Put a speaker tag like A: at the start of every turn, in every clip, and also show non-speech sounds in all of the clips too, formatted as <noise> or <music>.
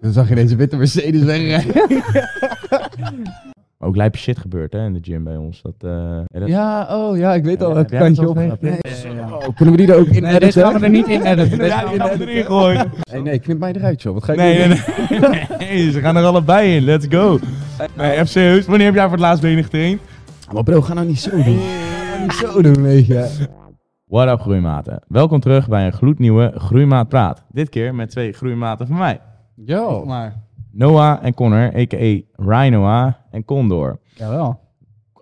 A: Dan zag je deze witte Mercedes wegrijden.
B: Ook lijpe shit gebeurt hè, in de gym bij ons. Dat, eh, ja, dat-
A: Ja, oh ja, ik weet
B: Ja,
A: al
B: heb
A: welke
B: jij
A: kant
B: dat
A: je
B: al
A: op
B: gehad?
A: Nee,
C: Nee,
A: oh, Kunnen we die er ook in
C: dit
A: editen?
C: gaan we er niet in editen. Dit
B: Ja,
C: gaan we
B: die
C: er
B: gaan we
C: niet
B: erin gooien.
A: Nee, nee, knip mij eruit joh. Wat ga ik
B: Nee,
A: doen?
B: nee, nee. <laughs> Nee, ze gaan er allebei in. Let's go. Nee, FC Heus, wanneer heb jij voor het laatst benig getraind?
A: Maar bro, ga nou niet zo doen. Ga nou niet zo doen, weet je.
B: What up, groeimaten. Welkom terug bij een gloednieuwe Groeimaat Praat. Dit keer met twee groeimaten van mij.
A: Yo.
C: Maar,
B: Noah en Connor, a.k.a. Rhinoa en Condor.
C: jawel.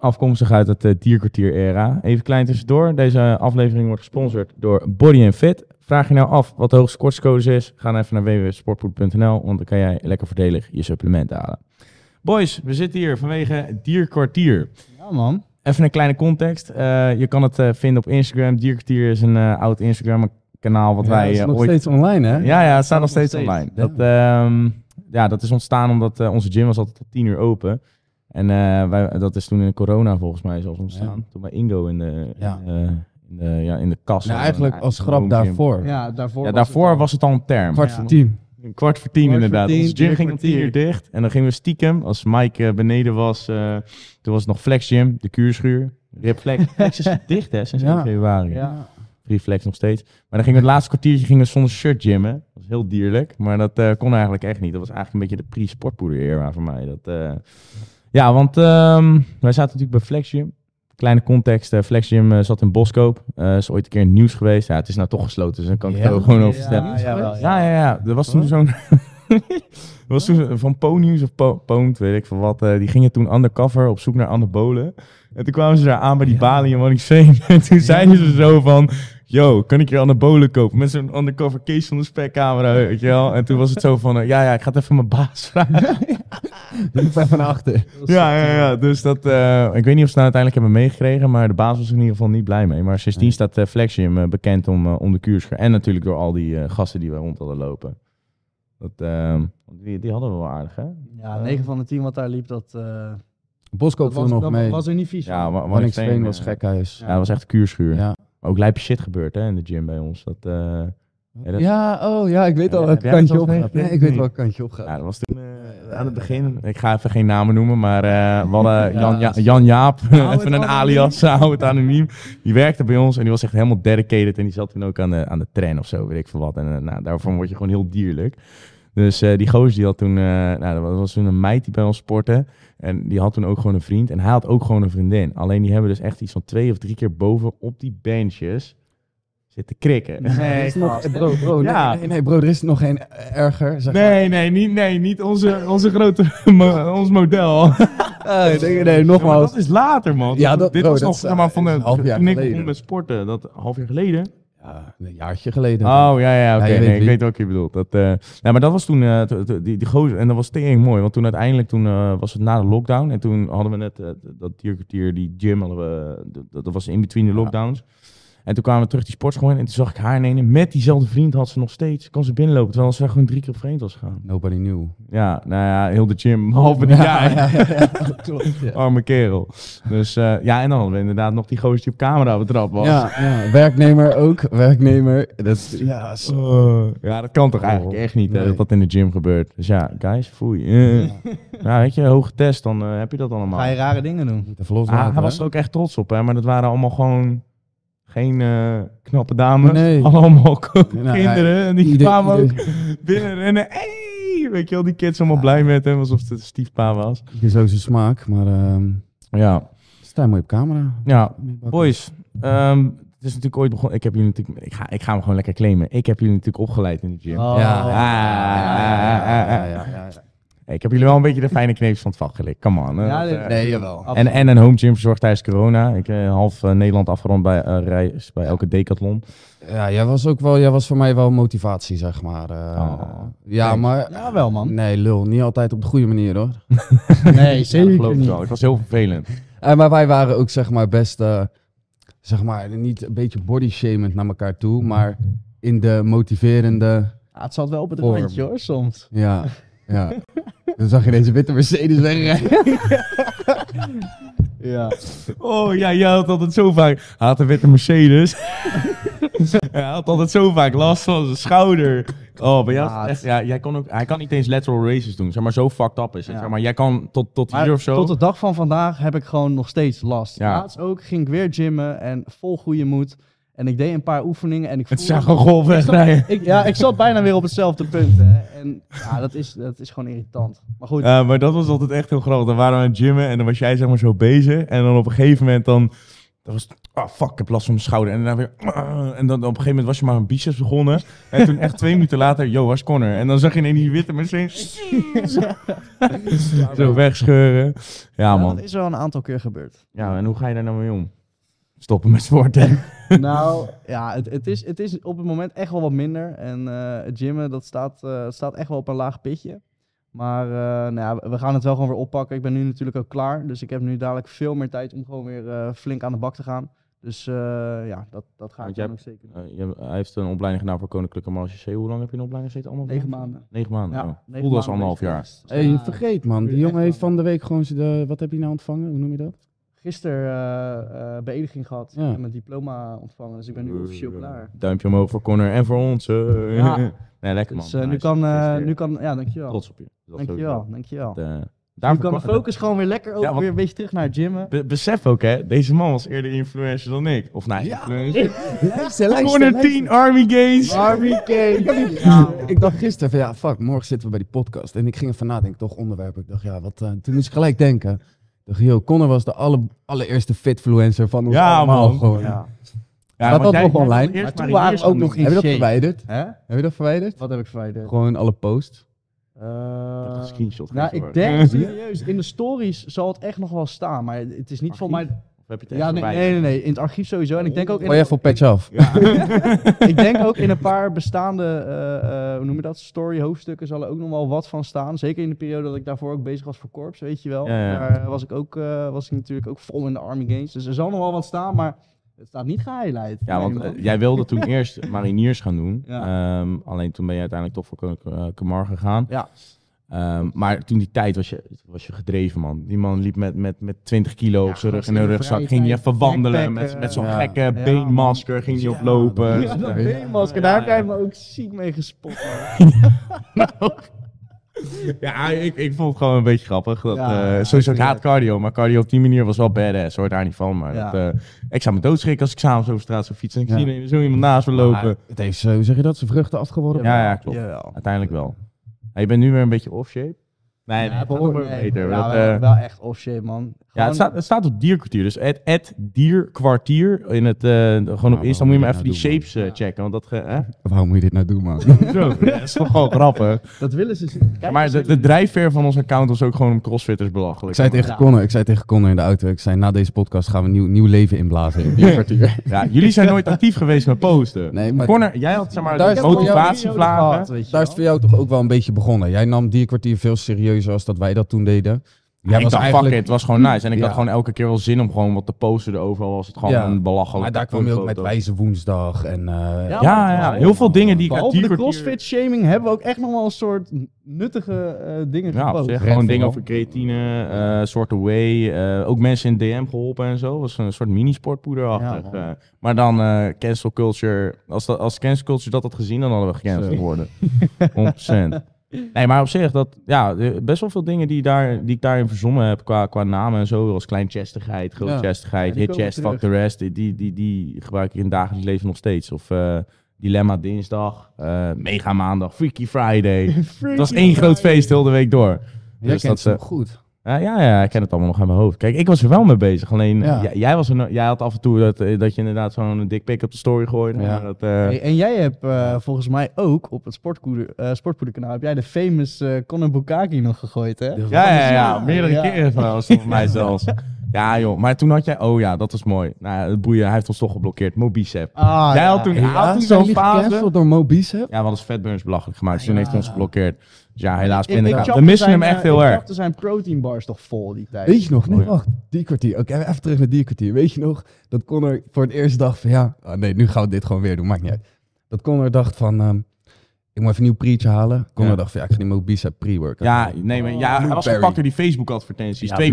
B: afkomstig uit het eh, dierkwartier-era. Even klein tussendoor. Deze aflevering wordt gesponsord door Body Fit. Vraag je nou af wat de hoogste kortscode is? Ga dan even naar www.sportpoed.nl, want dan kan jij lekker voordelig je supplement halen. Boys, we zitten hier vanwege het dierkwartier.
C: Ja, man.
B: Even een kleine context. Eh, je kan het eh, vinden op Instagram. Dierkwartier is een eh, oud Instagram-kanaal wat
A: Ja,
B: wij
A: dat is
B: eh,
A: nog
B: ooit
A: steeds online, hè?
B: ja, ja, het staat nog steeds,
C: steeds.
B: online. Dat, ehm, ja, dat is ontstaan omdat eh, onze gym was altijd tot tien uur open. En eh, wij, dat is toen in de corona volgens mij zelfs ontstaan. Toen bij Ingo in de,
A: Ja.
B: in de, in de, ja, in de kast.
A: Nou, eigenlijk als grap daarvoor.
C: Ja, daarvoor
B: Ja,
C: was
B: daarvoor
C: het
B: was het al een term.
A: Kwart
C: Ja.
A: voor tien.
B: Een kwart voor tien
C: Kwart voor
B: inderdaad.
C: tien,
B: Onze gym
C: drie
B: ging om tien uur
C: kwartier.
B: dicht. En dan gingen we stiekem, als Mike eh, beneden was, eh, toen was het nog Flex Gym, de kuurschuur. Rip Flex. Flex is dicht hè, sinds
A: Ja.
B: 1 februari.
C: al. Ja.
B: Free flex nog steeds. Maar dan gingen we het laatste kwartiertje gingen we zonder shirt gymmen. Dat was heel dierlijk. Maar dat eh, kon eigenlijk echt niet. Dat was eigenlijk een beetje de pre-sportpoeder-era voor mij. Dat, eh, Ja, want ehm, wij zaten natuurlijk bij Flex Gym. Kleine context. eh, Flex Gym eh, zat in Boskoop. Eh is ooit een keer in het nieuws geweest. Ja, het is nou toch gesloten. Dus dan kan ik
A: Ja?
B: het er gewoon over
C: Ja,
B: vertellen.
C: jawel,
B: Ja, ja, ja. Er was toen
A: Huh?
B: zo'n... <laughs> er was toen van Pony's of Po- Poont, weet ik van wat. eh, die gingen toen undercover op zoek naar anabolen. En toen kwamen ze daar aan bij die balie in Waddinxveen. <laughs> En toen zeiden ze zo van... Yo, kan ik je anabolen kopen? Met zo'n undercover case van de spekcamera, weet je wel. En toen was het zo van... eh, ja, ja, ik ga het even mijn baas vragen.
A: Ik ben van achter.
B: ja, ja, ja. Dus dat... eh, ik weet niet of ze nou uiteindelijk hebben meegekregen. Maar de baas was er in ieder geval niet blij mee. Maar sindsdien staat eh, Flexium eh, bekend om, eh, om de kuurscher. En natuurlijk door al die eh, gasten die we rond hadden lopen. Dat, ehm, die, die hadden we wel aardig, hè?
C: Ja, 9 van de 10 wat daar liep, dat, eh,
A: Boskoop
C: dat
A: viel nog
C: dat
A: mee.
C: was er niet vies.
B: Ja,
C: van.
B: Wa-
A: Waddinxveen
B: Waddinxveen,
A: was
B: eh,
A: gekhuis.
B: Ja, dat was echt kuurschuur.
A: Ja.
B: Ook lijpe shit gebeurt hè, in de gym bij ons. Dat, eh, ja, dat,
A: Ja, oh ja, ik weet
B: Ja,
A: al
B: heb
A: welk
B: jij dat
A: kantje
B: al
A: op
B: gezegd?
A: Nee, ik weet wel welk kantje op gaat.
B: ja, dat was toen eh, aan het begin. Ik ga even geen namen noemen, maar eh we hadden
C: Ja.
B: Jan, ja, Jan Jaap,
C: het
B: even een
C: anoniem.
B: alias, <laughs> hou het anoniem. Die werkte bij ons en die was echt helemaal dedicated. En die zat toen ook aan de, aan de train of zo, weet ik veel wat. En eh, nou, daarvan word je gewoon heel dierlijk. Dus eh, die gozer die had toen, eh, nou, dat was toen een meid die bij ons sportte. En die had toen ook gewoon een vriend. En hij had ook gewoon een vriendin. Alleen die hebben dus echt iets van twee of drie keer boven op die benches zitten
C: <laughs>
B: krikken.
A: Er
C: Nee,
A: is nog-
C: gast.
A: eh, bro, bro, nee,
B: Ja.
A: nee, nee, bro, er is nog geen eh, erger. Zeg maar.
B: Nee, nee, niet, nee, niet onze, onze grote, <laughs> mo- ons model.
A: Eh, nee, nee,
B: Ja, maar
A: nogmaals.
B: dat is later, man.
A: Ja, dat-
B: dit
A: bro,
B: was
A: dat
B: nog
A: is,
B: zeg maar,
A: eh,
B: van
A: een
B: de,
A: half jaar
B: toen ik begon
A: geleden.
B: met sporten, dat een half jaar geleden.
A: Ja, een jaartje geleden.
B: Oh, ja, ja, oké.
A: Ja, je
B: nee,
A: weet
B: ik
A: wie.
B: weet wat je bedoelt. Dat, eh, ja, maar dat was toen, eh, to- to- die, die gozer, en dat was tering mooi. Want toen uiteindelijk, toen eh, was het na de lockdown. En toen hadden we net eh, dat dierkwartier, die gym hadden we, dat- dat, dat was in between de lockdowns. En toen kwamen we terug die sportschool in en toen zag ik haar in ene met diezelfde vriend had ze nog steeds, kon ze binnenlopen, terwijl ze daar gewoon drie keer op vreemd was gegaan.
A: Nobody knew.
B: Ja, nou ja, heel de gym, <laughs> halve die jaar.
A: Klopt, <laughs> ja.
B: <laughs> Arme kerel. Dus eh, ja, en dan hadden we inderdaad nog die gozer die op camera betrapt was.
A: Ja, ja, werknemer ook. Werknemer. Dat is, ja, zo.
B: Eh, ja, dat kan toch eigenlijk echt niet, hè,
A: Oh, Nee.
B: dat dat in de gym gebeurt. Dus ja, guys, foei. Eh. Nou, weet je, hoge test, dan eh, heb je dat allemaal.
C: Ga je rare dingen doen.
A: De verlos
B: Ah,
A: laten,
B: hij was
A: hè?
B: er ook echt trots op, hè, maar dat waren allemaal gewoon geen eh, knappe dames.
A: Nee.
B: <laughs> Allemaal
A: Nou,
B: kinderen. en die
A: Ieder-
B: kwamen ook
A: ieder-
B: binnen rennen. Hey! Weet je wel, die kids allemaal blij met hem, alsof het een stiefpa was.
A: ieder zo zijn smaak, maar ehm
B: Ja,
A: sta mooi op camera.
B: ja Boys, ehm, het is natuurlijk ooit begonnen. Ik heb jullie natuurlijk. Ik ga, ik ga hem gewoon lekker claimen. Ik heb jullie natuurlijk opgeleid in de gym.
C: Oh.
A: Ja,
B: Ah, ah, ah, ah, ah. Ik heb jullie wel een beetje de fijne kneepjes van het vak gelikt. Come on. hè.
C: Ja,
B: Dat,
C: dit-
B: eh,
A: Nee, jawel.
B: en, en een home gym verzorgd tijdens corona. Ik eh, half eh, Nederland afgerond bij eh, reis bij elke decathlon.
A: Ja, jij was ook wel, jij was voor mij wel motivatie, zeg maar. eh.
B: Oh.
A: Ja, maar...
C: Ja, wel, man.
A: Nee, lul. Niet altijd op de goede manier, hoor.
B: Ja,
C: Nee,
B: dat geloof
C: zeker
B: ik
C: niet.
B: wel. Het was heel vervelend.
A: Eh, maar wij waren ook zeg maar best, eh, zeg maar, niet een beetje body shamend naar elkaar toe, maar in de motiverende,
C: Ja, het zat wel op het
A: Vorm.
C: randje, hoor, soms.
A: ja, <laughs> ja. Dan zag je deze witte Mercedes wegrijden.
C: Ja.
B: Oh ja, jij had altijd zo vaak.
C: <laughs>
B: Hij had een witte Mercedes. hij had altijd zo vaak last van zijn schouder. Oh, bij jou is het
C: Maat.
B: echt, ja, jij kon ook, hij kan niet eens lateral races doen. Zeg maar, zo fucked up is het.
C: Ja.
B: Zeg maar, jij kan tot, tot
C: Maar
B: hier of zo.
C: tot de dag van vandaag heb ik gewoon nog steeds last.
B: Ja.
C: Laatst ook ging ik weer gymmen en vol goede moed. En ik deed een paar oefeningen en ik
B: het
C: voelde-
B: zijn gewoon golf
C: Ik zat-
B: wegrijden.
C: ik, ja, ik zat bijna weer op hetzelfde punt. Hè. En ja, dat is, dat is gewoon irritant. Maar <laughs> goed,
B: Ja, Eh, maar dat was altijd echt heel grappig. Dan waren we aan het gymmen en dan was jij zeg maar zo bezig. En dan op een gegeven moment dan... dan was het, ah fuck, ik heb last van mijn schouder. En dan weer... ah, en dan op een gegeven moment was je maar een biceps begonnen. En toen echt twee minuten later, yo, was Connor? En dan zag je ineens die witte Mercedes
C: <laughs>
B: zo wegscheuren. Ja,
C: ja,
B: man.
C: dat is wel een aantal keer gebeurd.
B: Ja, en hoe ga je daar nou mee om? Stoppen met sporten.
A: <laughs>
C: nou, ja, het, het, is, het is op het moment echt wel wat minder. En eh, het gymmen, dat staat, eh, staat echt wel op een laag pitje. Maar eh, nou ja, we gaan het wel gewoon weer oppakken. Ik ben nu natuurlijk ook klaar. Dus ik heb nu dadelijk veel meer tijd om gewoon weer eh, flink aan de bak te gaan. Dus eh, ja, dat, dat ga
B: Want
C: ik
B: jij
C: dan ook zeker doen.
B: Eh, je- hij heeft een opleiding gedaan voor Koninklijke Marge C. Hoe lang heb je een opleiding gezeten? Allemaal
C: Negen maanden.
B: Negen maanden.
C: Ja,
B: oh.
C: negen
B: Voelde als
C: maanden
B: anderhalf
C: ben ik
B: jaar.
C: geweest. Dus, eh,
A: Hey, je vergeet man, die
C: Echt,
A: jongen heeft
C: man.
A: van de week gewoon z'n- de, wat heb je nou ontvangen? Hoe noem je dat?
C: Gisteren eh, eh, beëdiging gehad
A: Ja.
C: en mijn diploma ontvangen. Dus ik ben nu officieel klaar.
B: Duimpje omhoog voor Connor en voor ons. eh.
C: Ja.
B: Nee, lekker man.
C: Dus eh, nu,
B: Nice.
C: kan, eh,
B: Gefeliciteerd.
C: nu kan... Ja, dankjewel.
B: Trots op je. Dat
C: Dankjewel, dankjewel.
B: sowieso. Eh,
C: Nu
B: daarvoor
C: kan mijn
B: kwam-
C: focus gewoon weer lekker ook
B: Ja, want-
C: weer een beetje terug naar het gymmen.
B: Be- besef ook hè, deze man was eerder influencer dan ik. Of nou, influencer.
A: Luister,
B: Corner 10 Army Games.
A: Army Kane. <laughs> Ja, ik dacht gisteren van ja, fuck, morgen zitten we bij die podcast. En ik ging even nadenken, toch onderwerp. Ik dacht ja, wat, eh, toen moest ik gelijk denken. Ik dacht, yo, Connor was de alle, allereerste fitfluencer van ons
B: Ja,
A: allemaal
B: man.
A: gewoon.
C: Ja.
B: Ja,
A: Staat
B: want
A: dat
B: jij-
A: nog
B: jij
A: online?
B: was eerst
C: Maar toen
B: in
C: waren we
B: eerst
C: ook
B: aan
C: nog
B: doen.
A: Heb je dat
C: Shit.
A: verwijderd?
C: Hè?
A: Heb je dat verwijderd?
C: Wat heb ik verwijderd?
A: Gewoon alle posts.
B: Ik dacht,
C: Eh,
B: een screenshot
C: nou,
B: geven, hoor.
C: ik
B: <laughs>
C: denk serieus, in de stories zal het echt nog wel staan, maar het is niet van
B: Archief?
C: mij.
B: Of heb je het echt
C: Ja, nee,
B: verwijderd?
C: nee, nee, nee, in het archief sowieso. En ik denk ook in,
A: Gooi even op Oh patch af.
C: ik denk ook in een paar bestaande, eh, eh, hoe noem je dat, story hoofdstukken zal er ook nog wel wat van staan. Zeker in de periode dat ik daarvoor ook bezig was voor Corps, weet je wel.
B: Ja, ja.
C: Daar was ik, ook, eh, was ik natuurlijk ook vol in de Army Games, dus er zal nog wel wat staan, maar het staat niet gehighlight.
B: Ja, want
C: Nee, man.
B: eh, jij wilde toen eerst mariniers gaan doen.
C: Ja.
B: Ehm, alleen toen ben je uiteindelijk toch voor Koninklijke eh, Kamar gegaan.
C: Ja.
B: Ehm, maar toen die tijd was je, was je gedreven, man. Die man liep met, met, met 20 kilo
C: Ja,
B: op zijn rug in
C: gast,
B: een
C: in de
B: rugzak.
C: vrije
B: Ging hij
C: tijd,
B: even wandelen
C: backpacken.
B: met, met zo'n
A: Ja.
B: gekke
C: Ja,
B: beenmasker. Ging hij
A: Ja,
B: oplopen.
A: dat-
C: Ja, dat
A: Ja.
C: beenmasker, daar heb jij me ook ziek mee gespot. man.
B: Ja, ik, ik vond het gewoon een beetje grappig. Dat,
C: Ja,
B: eh, sowieso, ik
C: tuurlijk.
B: haat cardio, maar cardio op die manier was wel badass. Hoor daar niet van. Maar
C: Ja.
B: dat, eh, ik zou me doodschrikken als ik s'avonds over straat zou fietsen. En ik
A: Ja.
B: zie ineens zo iemand naast me lopen.
A: Maar het heeft, eh, hoe zeg je dat, zijn vruchten afgeworpen?
B: Ja, ja, klopt.
C: Jawel.
B: Uiteindelijk wel. Ja, je bent nu weer een beetje off-shape. Nee,
C: Ja,
B: dat
C: behoor-
B: wordt
C: nee,
B: beter.
C: ja,
B: dat,
C: wel,
B: eh,
C: wel echt off-shape, man.
B: ja,
C: Gewoon-
B: het, staat, het staat op dierkwartier. Dus het, het dierkwartier in het, eh, gewoon op
A: waarom Nou,
B: Insta
A: moet
B: moet
A: je
B: je maar
A: dat
B: even
A: nou
B: die
A: doen, man?
B: shapes eh, checken. Want dat, ge-
C: <laughs>
B: hè?
A: Waarom moet je dit nou doen, man?
B: Zo, <laughs> dat is toch gewoon grappig.
C: Dat willen ze. Kijk,
B: Maar
C: ze
B: de, de
C: willen-
B: drijfveer van ons account was ook gewoon om crossfitters belachelijk.
A: Ik zei tegen
C: Ja.
A: Connor, ik zei tegen Connor in de auto, ik zei na deze podcast gaan we nieuw, nieuw leven inblazen in dit kwartier.
B: Ja, jullie
A: <laughs>
B: zijn nooit actief geweest met posten.
A: Nee, maar
B: Connor, jij had zeg
A: Daar
B: maar
A: is
B: de
A: het voor jou
B: motivatievlagen.
C: Gehad, weet je
A: daar is het
C: wel.
A: voor jou toch ook wel een beetje begonnen. Jij nam die kwartier veel serieuzer als dat wij dat toen deden. Jij
B: ik dacht, fuck it, het was gewoon nice. En ik
A: Ja.
B: had gewoon elke keer wel zin om gewoon wat te posten erover. al Was het gewoon
A: Ja.
B: een belachelijk.
A: Maar daar kwam je ook met
B: foto.
A: Wijze Woensdag en... eh,
C: Ja,
B: Ja, ja, heel veel dingen die ik uit
C: Behalve
B: die
C: de
B: kwartier-
C: crossfit-shaming hebben we ook echt nog wel een soort nuttige eh, dingen
B: Ja, op
C: gepost.
B: zich.
A: Red
B: Nou, Gewoon dingen
A: vooral.
B: over creatine, eh soorten whey. eh, ook mensen in DM geholpen en zo. was een soort mini-sportpoederachtig.
C: Ja, man.
B: eh. maar dan eh, cancel culture. Als, dat, als cancel culture dat had gezien, dan hadden we gecanceld
A: Zo.
C: <laughs>
B: geworden. 100%. Nee, maar op zich, dat, ja, eh, best wel veel dingen die, daar, die ik daarin verzonnen heb qua, qua namen en zo. Als kleinchestigheid, grootchestigheid,
C: Ja, die
B: hit
C: komen
B: chest,
C: terug.
B: fuck the rest. Die, die, die, die gebruik ik in het dagelijks leven nog steeds. Of eh, Dilemma Dinsdag, eh, Mega Maandag, Freaky Friday. Het was één groot feest heel de week door.
A: Jij kent
B: Dus dat,
A: ze
B: eh,
A: goed.
B: Ja, ja, ja, ik ken het allemaal nog aan mijn hoofd. Kijk, ik was er wel mee bezig. Alleen,
A: Ja.
B: j- jij, was er, no- jij had af en toe dat, eh, dat je inderdaad zo'n dik pic op de story gooide.
A: Ja.
B: maar Dat, eh,
C: Hey, en jij hebt eh, volgens mij ook op het sportpoeder, eh sportpoederkanaal heb jij de famous eh Conor Bukaki nog gegooid, hè?
B: ja, ja, ja,
C: Ja,
B: meerdere
C: ja.
B: keren zelfs,
C: <laughs>
B: volgens mij zelfs. Ja, joh. Maar toen had jij... Oh ja, dat was mooi. Nou, het boeien, hij heeft ons toch geblokkeerd. Mobicep.
C: Ah,
B: jij had
C: ja.
B: toen, hij
A: Ja,
B: had toen
A: zijn
B: zo'n
A: jullie
B: fase...
A: gecanceld door Mo Bicep?
B: Ja, we hadden Fatburns belachelijk gemaakt. Dus toen heeft hij ons geblokkeerd. Dus ja, helaas
C: Ik- ik
B: pindakaas.
C: chapte
B: We missen
C: zijn,
B: hem echt
C: eh,
B: heel
C: ik
B: erg.
C: chapte zijn proteinbars toch vol die tijd.
A: Weet je nog? Nee,
B: Oh, ja.
A: wacht. Die kwartier. Oké, even terug naar die kwartier. Weet je nog dat Connor voor het eerst dacht van ja, ah, nee, nu gaan we dit gewoon weer doen. Maakt niet uit. Dat Connor dacht van, ehm, Ik moet even een nieuw preetje halen. Conor
B: Ja.
A: dacht van, ja, ik ga die Mobisa pre-workout.
B: Ja, nee, maar, ja hij was
A: Blueberry.
B: gepakt door die Facebook-advertenties.
A: Ja,
B: 2,35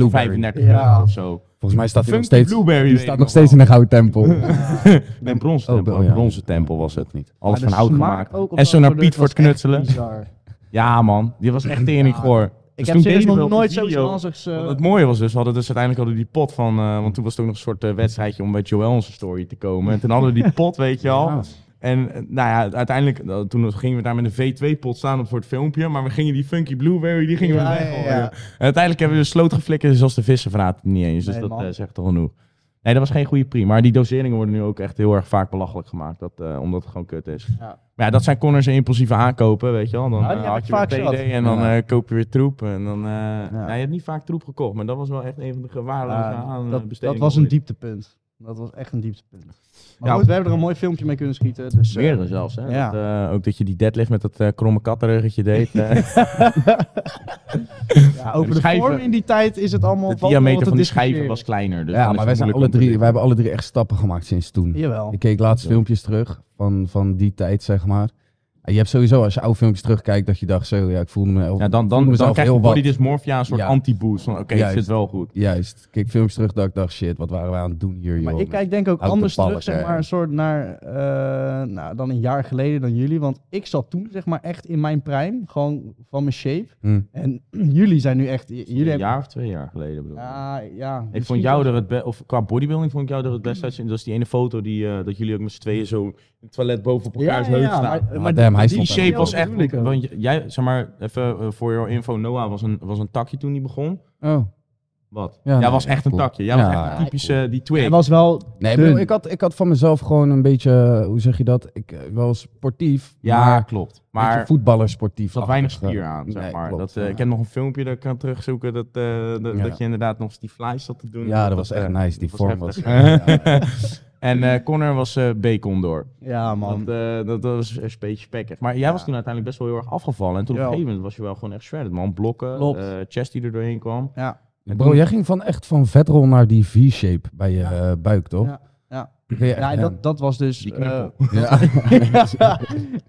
C: Blueberry.
B: euro
C: Ja.
B: of zo.
A: Volgens mij staat hij nog
B: Funky
A: steeds,
B: Blueberry.
A: die
B: weet
A: staat
B: ik
A: nog steeds in
B: wel.
A: de gouden
B: <laughs>
A: tempel.
B: Nee, een bronzen
A: Oh,
B: tempel.
A: oh, ja.
B: Een bronzen tempel was het.
A: niet.
B: Alles
C: Maar
B: van
C: de
B: hout
C: smaak
B: gemaakt.
C: ook op
B: En
C: dat
B: zo naar
C: product
B: Piet voor het
C: was echt
B: knutselen.
C: bizar.
B: Ja, man. Die was echt tering goor.
C: Ik
B: Dus
C: heb
B: toen
C: serieus
B: deden we
C: nog
B: op
C: nooit
B: de
C: zoiets
B: video.
C: ranzigs... eh,
B: Want het mooie was dus, we hadden dus uiteindelijk hadden we die pot van, eh, want toen was het ook nog een soort eh, wedstrijdje om bij Joël onze story te komen. En toen hadden
C: <laughs>
B: we die pot, weet je al.
A: Ja.
B: En eh, nou ja, uiteindelijk, eh, toen gingen we daar met een V2-pot staan op voor het filmpje, maar we gingen die funky blueberry, die gingen we
C: Ja, ja,
B: weggooien.
C: ja.
B: En uiteindelijk hebben we de sloot geflikkerd, zoals de vissen verraadt het niet eens. Dus
C: Nee,
B: dat
C: man.
B: eh, zegt toch genoeg. Nee, dat was geen goede prima. Maar die doseringen worden nu ook echt heel erg vaak belachelijk gemaakt, dat, eh, omdat het gewoon kut is.
C: Ja.
B: Maar ja, dat zijn Connors impulsieve aankopen, weet je wel. Dan
C: Nou, die
B: eh,
C: heb
B: had
C: ik
B: je weer
C: vaak
B: PD
C: zat.
B: en dan
A: Ja.
B: eh, koop je weer troep. En dan, eh nou, je hebt niet vaak troep gekocht, maar dat was wel echt een van de gewaarloosde
C: Ja,
B: aan
C: Ah, dat, dat
B: bestedingen
C: was een
B: ooit.
C: dieptepunt. Dat was echt een dieptepunt. Maar
B: Ja.
C: goed, we hebben er een mooi filmpje mee kunnen schieten. Dus, eh,
B: Meerdere zelfs, hè?
C: Ja.
B: Dat, eh, ook dat je die deadlift met dat eh, kromme kattenruggetje deed.
C: <laughs>
B: eh,
C: ja, over de,
B: schijven-
C: vorm in die tijd is het allemaal...
B: de
C: valt wel wat
B: diameter
C: te
B: van die schijven
C: discussiëren.
B: was kleiner. Dus
A: ja,
B: dan
A: maar
B: is het
A: wij zijn alle
B: moeilijk om te
A: drie,
B: doen.
A: wij hebben alle drie echt stappen gemaakt sinds toen.
C: Jawel.
A: Ik keek laatst
B: Ja.
A: filmpjes terug van, van die tijd, zeg maar. En je hebt sowieso, als je oude filmpjes terugkijkt, dat je dacht zo, ja, ik voelde me...
B: Ja, dan, dan,
A: voelde
B: dan,
A: mezelf
B: krijg je
A: heel
B: body
A: wat.
B: dysmorphia een soort
A: Ja.
B: anti-boost. van, Oké, het
A: Juist.
B: zit wel goed.
A: Juist. Ik keek filmpjes terug dat ik dacht, shit, wat waren wij aan het doen hier, joh.
C: Maar ik kijk denk ook
A: houten
C: anders terug,
A: ballen,
C: zeg
A: ja.
C: maar, een soort naar, eh, nou, dan een jaar geleden dan jullie. Want ik zat toen, zeg maar, echt in mijn prime, gewoon van mijn shape.
A: Hm.
C: En <clears throat> jullie zijn nu echt, j- jullie
B: Een
C: hebben...
B: jaar of twee jaar geleden bedoel ik.
C: Ja, ja.
B: Ik
C: misschien
B: vond jou
C: wel.
B: er het best, of qua bodybuilding vond ik jou er het best uitzien. Dat is die ene foto die, eh, dat jullie ook met z'n tweeën zo in het toilet boven op elkaars heup staan.
A: Ah, damn, hij
C: die
B: Die
A: stond
B: shape was echt,
C: bedoel ik ook.
B: want j- jij, zeg maar, even eh, voor jouw info, Noah was een, was een takje toen die begon.
A: Oh.
B: Wat?
A: Ja,
B: jij
A: nee,
B: was echt een
A: cool.
B: takje. Jij was
A: Ja,
B: echt een
A: cool.
B: typische, die twig.
C: Hij was wel...
A: Nee, ik
C: Dun.
A: bedoel, ik, had, ik had van mezelf gewoon een beetje, hoe zeg je dat? Ik eh, wel sportief,
B: ja,
A: maar,
B: klopt.
A: maar
B: Maar
A: beetje voetballersportief.
B: er zat weinig
A: achtig, eh.
B: spier aan, zeg
A: Nee,
B: maar.
A: klopt,
B: dat, eh,
A: ja.
B: Ik heb nog een filmpje dat ik kan terugzoeken, dat, eh, dat,
A: Ja.
B: dat je inderdaad nog die flies zat te doen.
A: Ja, dat was echt
B: eh,
A: nice, die
B: was
A: vorm was.
B: heftig. <laughs> En eh, Connor was eh B-Condor.
C: Ja, man.
B: Want eh, dat, dat was een beetje spekkig. Maar jij was toen uiteindelijk best wel heel erg afgevallen. En toen op
C: Ja.
B: een gegeven moment was je wel gewoon echt shredded, man. Blokken,
C: Klopt.
B: eh, chest die er doorheen kwam.
C: Ja.
B: En
A: Bro,
B: toen-
A: jij ging van echt van vetrol naar die V-shape bij je eh, buik, toch? eh,
C: Ja, ja.
A: Ik weet echt,
C: Ja, en dat, dat was dus...
B: Die knuffel.
C: eh, <laughs>
A: ja.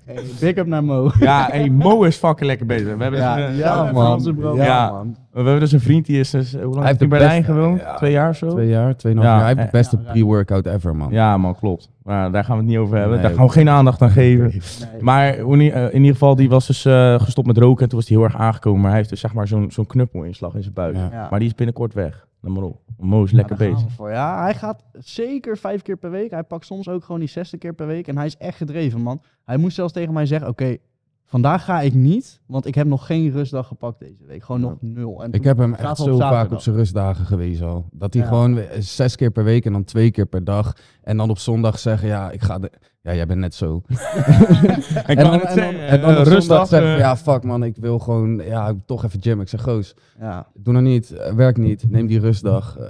C: hey, big up naar Mo.
B: <laughs> Ja, hey, Mo is fucking lekker bezig. We hebben,
C: Ja,
B: dus, een-
C: ja,
A: ja,
C: man.
A: man.
C: Bro.
B: Ja.
C: man.
B: we hebben dus een vriend die is dus, hoe lang
A: Hij
B: heeft
A: heeft
B: hij
A: de
B: in Berlijn
A: beste-
B: gewoond?
A: ja.
B: Twee jaar of zo?
A: Twee jaar, tweeënhalf
B: Ja,
A: jaar. Hij heeft de
B: eh,
A: beste
C: ja, ja.
A: pre-workout ever, man.
B: Ja man, klopt. Maar daar gaan we het niet over hebben.
A: Nee,
B: daar gaan we geen aandacht aan geven.
C: Nee.
B: Maar hoe nie- eh, in ieder geval, die was dus eh, gestopt met roken en toen was hij heel erg aangekomen. Maar hij heeft dus zeg maar zo'n zo'n knuppelinslag in zijn buik.
A: Ja.
C: Ja.
B: Maar die is binnenkort weg. Let maar op. Mo is lekker
C: Ja, daar gaan
B: bezig.
C: we voor. Ja, hij gaat zeker vijf keer per week. Hij pakt soms ook gewoon die zesde keer per week. En hij is echt gedreven, man. Hij moest zelfs tegen mij zeggen: Oké, vandaag ga ik niet, want ik heb nog geen rustdag gepakt deze week. Gewoon nog nul. En
A: Ik
C: toen-
A: heb hem
C: Zaterdag
A: echt
C: op
A: zo vaak
C: zaterdag.
A: op zijn rustdagen gewezen al. Dat hij
C: Ja.
A: gewoon we- eh, zes keer per week en dan twee keer per dag. En dan op zondag zeggen, ja, ik ga... De... Ja, jij bent net zo.
B: Ik
A: En dan,
B: kan het
A: en dan,
B: zeggen.
A: en dan
B: eh,
A: op zondag
B: Rustig.
A: zeggen,
B: eh,
A: ja, fuck man, ik wil gewoon ja, toch even gym. Ik zeg, goos,
C: ja.
A: doe nou niet, eh, werk niet, neem die rustdag. Eh,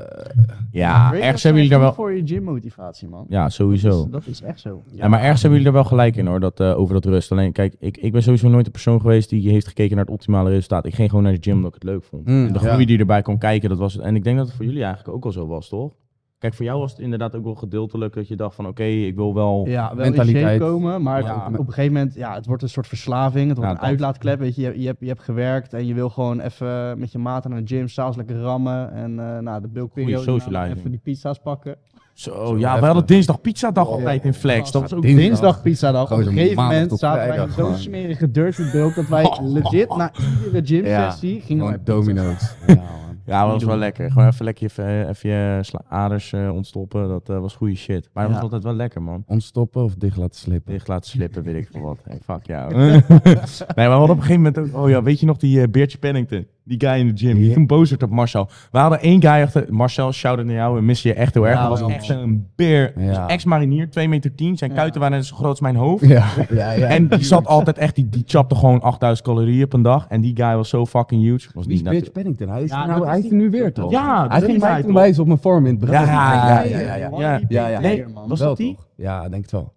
B: Ja,
C: Breakers
B: ergens hebben
C: zijn
B: jullie daar
C: goed
B: wel...
C: voor je gymmotivatie, man.
B: Ja,
C: Dat
B: sowieso.
C: is, dat is echt zo.
B: Ja, maar ergens hebben jullie er wel gelijk in hoor, dat, eh, over dat rust. Alleen kijk, ik, ik ben sowieso nooit de persoon geweest die heeft gekeken naar het optimale resultaat. Ik ging gewoon naar de gym omdat ik het leuk vond.
A: Mm,
B: en de
A: ja.
B: groei die erbij kon kijken, dat was het. En ik denk dat het voor jullie eigenlijk ook al zo was, toch? Kijk, voor jou was het inderdaad ook wel gedeeltelijk dat je dacht van oké, ik wil wel...
C: Ja, wel in shape
A: Mentaliteit.
C: komen, maar
B: Ja.
C: op, op een gegeven moment, ja, het wordt een soort verslaving, het wordt
B: Ja,
C: een
B: dat.
C: uitlaatklep, weet je, je, je hebt, je hebt gewerkt en je wil gewoon even met je maten naar de gym, s'avonds lekker rammen en eh, nou, de bulkperiode, nou,
B: socializing.
C: even die pizza's pakken.
B: Zo, ja,
A: heftig.
B: we hadden dinsdag pizzadag altijd in Flex. Dat was ook
A: Dinsdag.
C: Dinsdag pizzadag. Op een
A: Gozer,
C: gegeven
A: maandag
C: moment
A: tot
C: zaten wij in
A: vrijdag
C: zo'n
A: gewoon.
C: smerige dirty bulk dat wij legit na iedere gymsessie gingen wij
A: Gewoon
C: pizza-
A: domino's. ja, man.
B: <laughs> Ja, dat was wel lekker. Gewoon even lekker even, even je sla- aders eh, ontstoppen. Dat eh, was goede shit. Maar dat
C: Ja.
B: was altijd wel lekker, man.
A: Ontstoppen of dicht laten slippen.
B: Dicht laten slippen, weet ik veel wat. Hey, fuck
A: <laughs>
B: jou. nee, maar we hadden op een gegeven moment ook... Oh ja, weet je nog die eh, Beertje Pennington? Die guy in de gym. Die
A: Ja.
B: toen boos werd op Marcel. We hadden één guy achter... Marcel, shout-out naar jou. We missen je echt heel erg.
C: Ja,
B: dat was
C: wel,
B: echt een beer.
A: Ja.
B: Dus ex-marinier, 2 meter 10. Zijn
C: Ja.
B: kuiten waren net zo groot als mijn hoofd.
A: <laughs> Ja, ja, ja.
B: En die zat altijd echt, die, die chapte gewoon 8000 calorieën op een dag. En die guy was zo fucking huge. Was
A: Wie is
B: niet
A: Bitch
B: natuurlijk-
A: Pennington? Hij is,
C: Ja,
A: er
C: dat
A: nou,
C: is
A: hij is
C: die-
A: er nu weer toch?
B: Ja,
A: hij
B: dat
A: ging
B: is
A: mij
B: hij
A: toen
B: toch?
A: wijzen op mijn vorm in het begin.
B: Ja, ja, ja, ja,
A: ja.
C: Ja,
A: Ja, ja.
B: Nee, was
A: Wel,
B: dat die?
A: toch? Ja, denk het wel.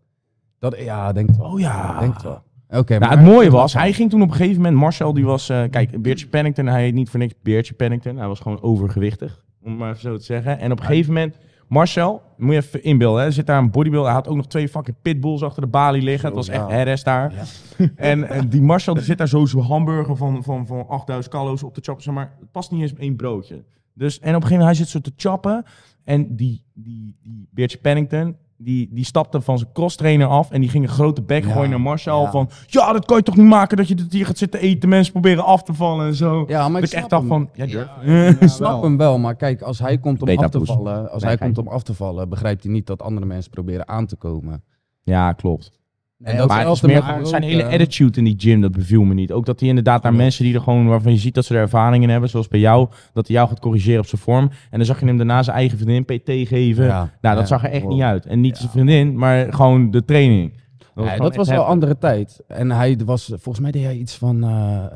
A: Dat, ja, denk het wel.
B: Oh ja.
A: Denk het wel. Oké,
B: Nou,
A: maar
B: het mooie was, hij ging toen op een gegeven moment, Marcel die was, eh, kijk, Beertje Pennington, hij heet niet voor niks Beertje Pennington, hij was gewoon overgewichtig, om het maar even zo te zeggen. En op een gegeven moment Marcel, moet je even inbeelden. Hè? Er zit daar een bodybuilder. Hij had ook nog twee fucking pitbulls achter de balie liggen. Het was
A: Zo,
B: echt
A: ja.
B: herres daar. <laughs> En, en die Marcel die zit daar zo zo'n hamburger van, van, van 8000 calo's op te chappen. Zeg maar het past niet eens op één broodje. Dus, en op een gegeven moment hij zit zo te chappen. En die, die, die Beertje Pennington, die, die stapte van zijn crosstrainer af. En die ging een grote bek
A: Ja,
B: gooien naar Marcel.
A: ja.
B: Van, ja, dat kan je toch niet maken dat je dit hier gaat zitten eten. Mensen proberen af te vallen en zo.
A: Ja, maar
B: dat
A: ik
B: ik
A: snap
B: echt dacht
A: hem.
B: van, ja, durf.
A: Ik snap hem wel, maar kijk, als hij komt om
B: Beta
A: af te
B: poes.
A: vallen, als
B: Nee,
A: hij
B: geintje.
A: komt om af te vallen, begrijpt hij niet dat andere mensen proberen aan te komen.
B: Ja, klopt.
C: Nee,
A: dat-
B: Maar het is
A: Hetzelfde
B: meer
A: met eh,
B: gewoon
A: roken.
B: zijn hele attitude in die gym, dat beviel me niet. Ook dat hij inderdaad naar
A: Klopt.
B: mensen die er gewoon, waarvan je ziet dat ze er ervaring in hebben, zoals bij jou, dat hij jou gaat corrigeren op zijn vorm. En dan zag je hem daarna zijn eigen vriendin PT geven. nou, dat zag er echt niet uit. En niet zijn vriendin, maar gewoon de training. Dat
A: Dat was,
B: gewoon
A: dat was
B: echt
A: wel
B: heftig.
A: andere tijd. En hij was, volgens mij deed hij iets van eh, eh,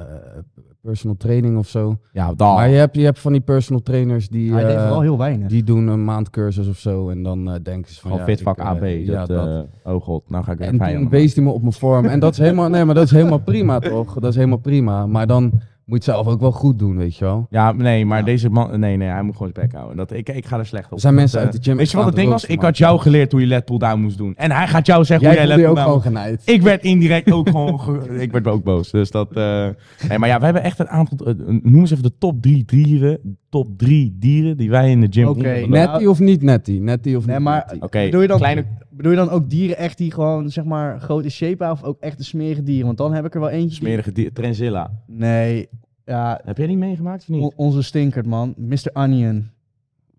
A: personal training of zo.
B: Ja, dat.
A: Maar je hebt, je hebt van die personal trainers die,
C: Hij deed
A: eh,
C: vooral heel weinig.
A: die doen een maand cursus of zo. En dan eh, denken ze van...
B: Gewoon
A: ja,
B: fitvak
A: ik, eh,
B: AB.
A: ja,
B: dat, eh, oh god, nou ga ik weer
A: En
B: vijanden
A: toen
B: maken.
A: wees hij me op mijn vorm. En dat is helemaal, nee, maar dat is helemaal prima toch? Dat is helemaal prima. Maar dan moet je het zelf ook wel goed doen, weet je wel.
B: Ja, nee, maar deze man... Nee, nee, hij moet gewoon zijn bek houden. Dat, ik, ik ga er slecht op.
A: Er zijn mensen
B: Dat,
A: uit de gym
B: eh, Weet je wat
A: aan
B: het
A: het
B: ding was?
A: roken,
B: Ik had jou geleerd hoe je lat pull down moest doen. En hij gaat jou zeggen
A: Jij
B: hoe jij
A: voelde je
B: lat
A: ook
B: pull down
A: gewoon genaaid.
B: Ik werd indirect ook gewoon. ge- <laughs> ik werd ook boos. Dus dat. eh, nee, maar ja, we hebben echt een aantal. eh, noem eens even de top drie dieren. Top drie dieren die wij in de gym.
C: Oké,
B: hebben.
C: nou,
A: Netty of niet netty? Netty of
C: Nee,
A: niet
C: maar-
A: netty?
B: Oké,
C: bedoel, je dan,
B: kleine-
C: bedoel je dan ook dieren echt die gewoon, zeg maar, grote shape of ook echt de smerige dieren? Want dan heb ik er wel eentje. die-
B: Smerige dier. Trenzilla.
C: Nee, ja,
B: Heb jij die meegemaakt of
C: on-
B: niet?
C: onze stinkert, man. Mr. Onion.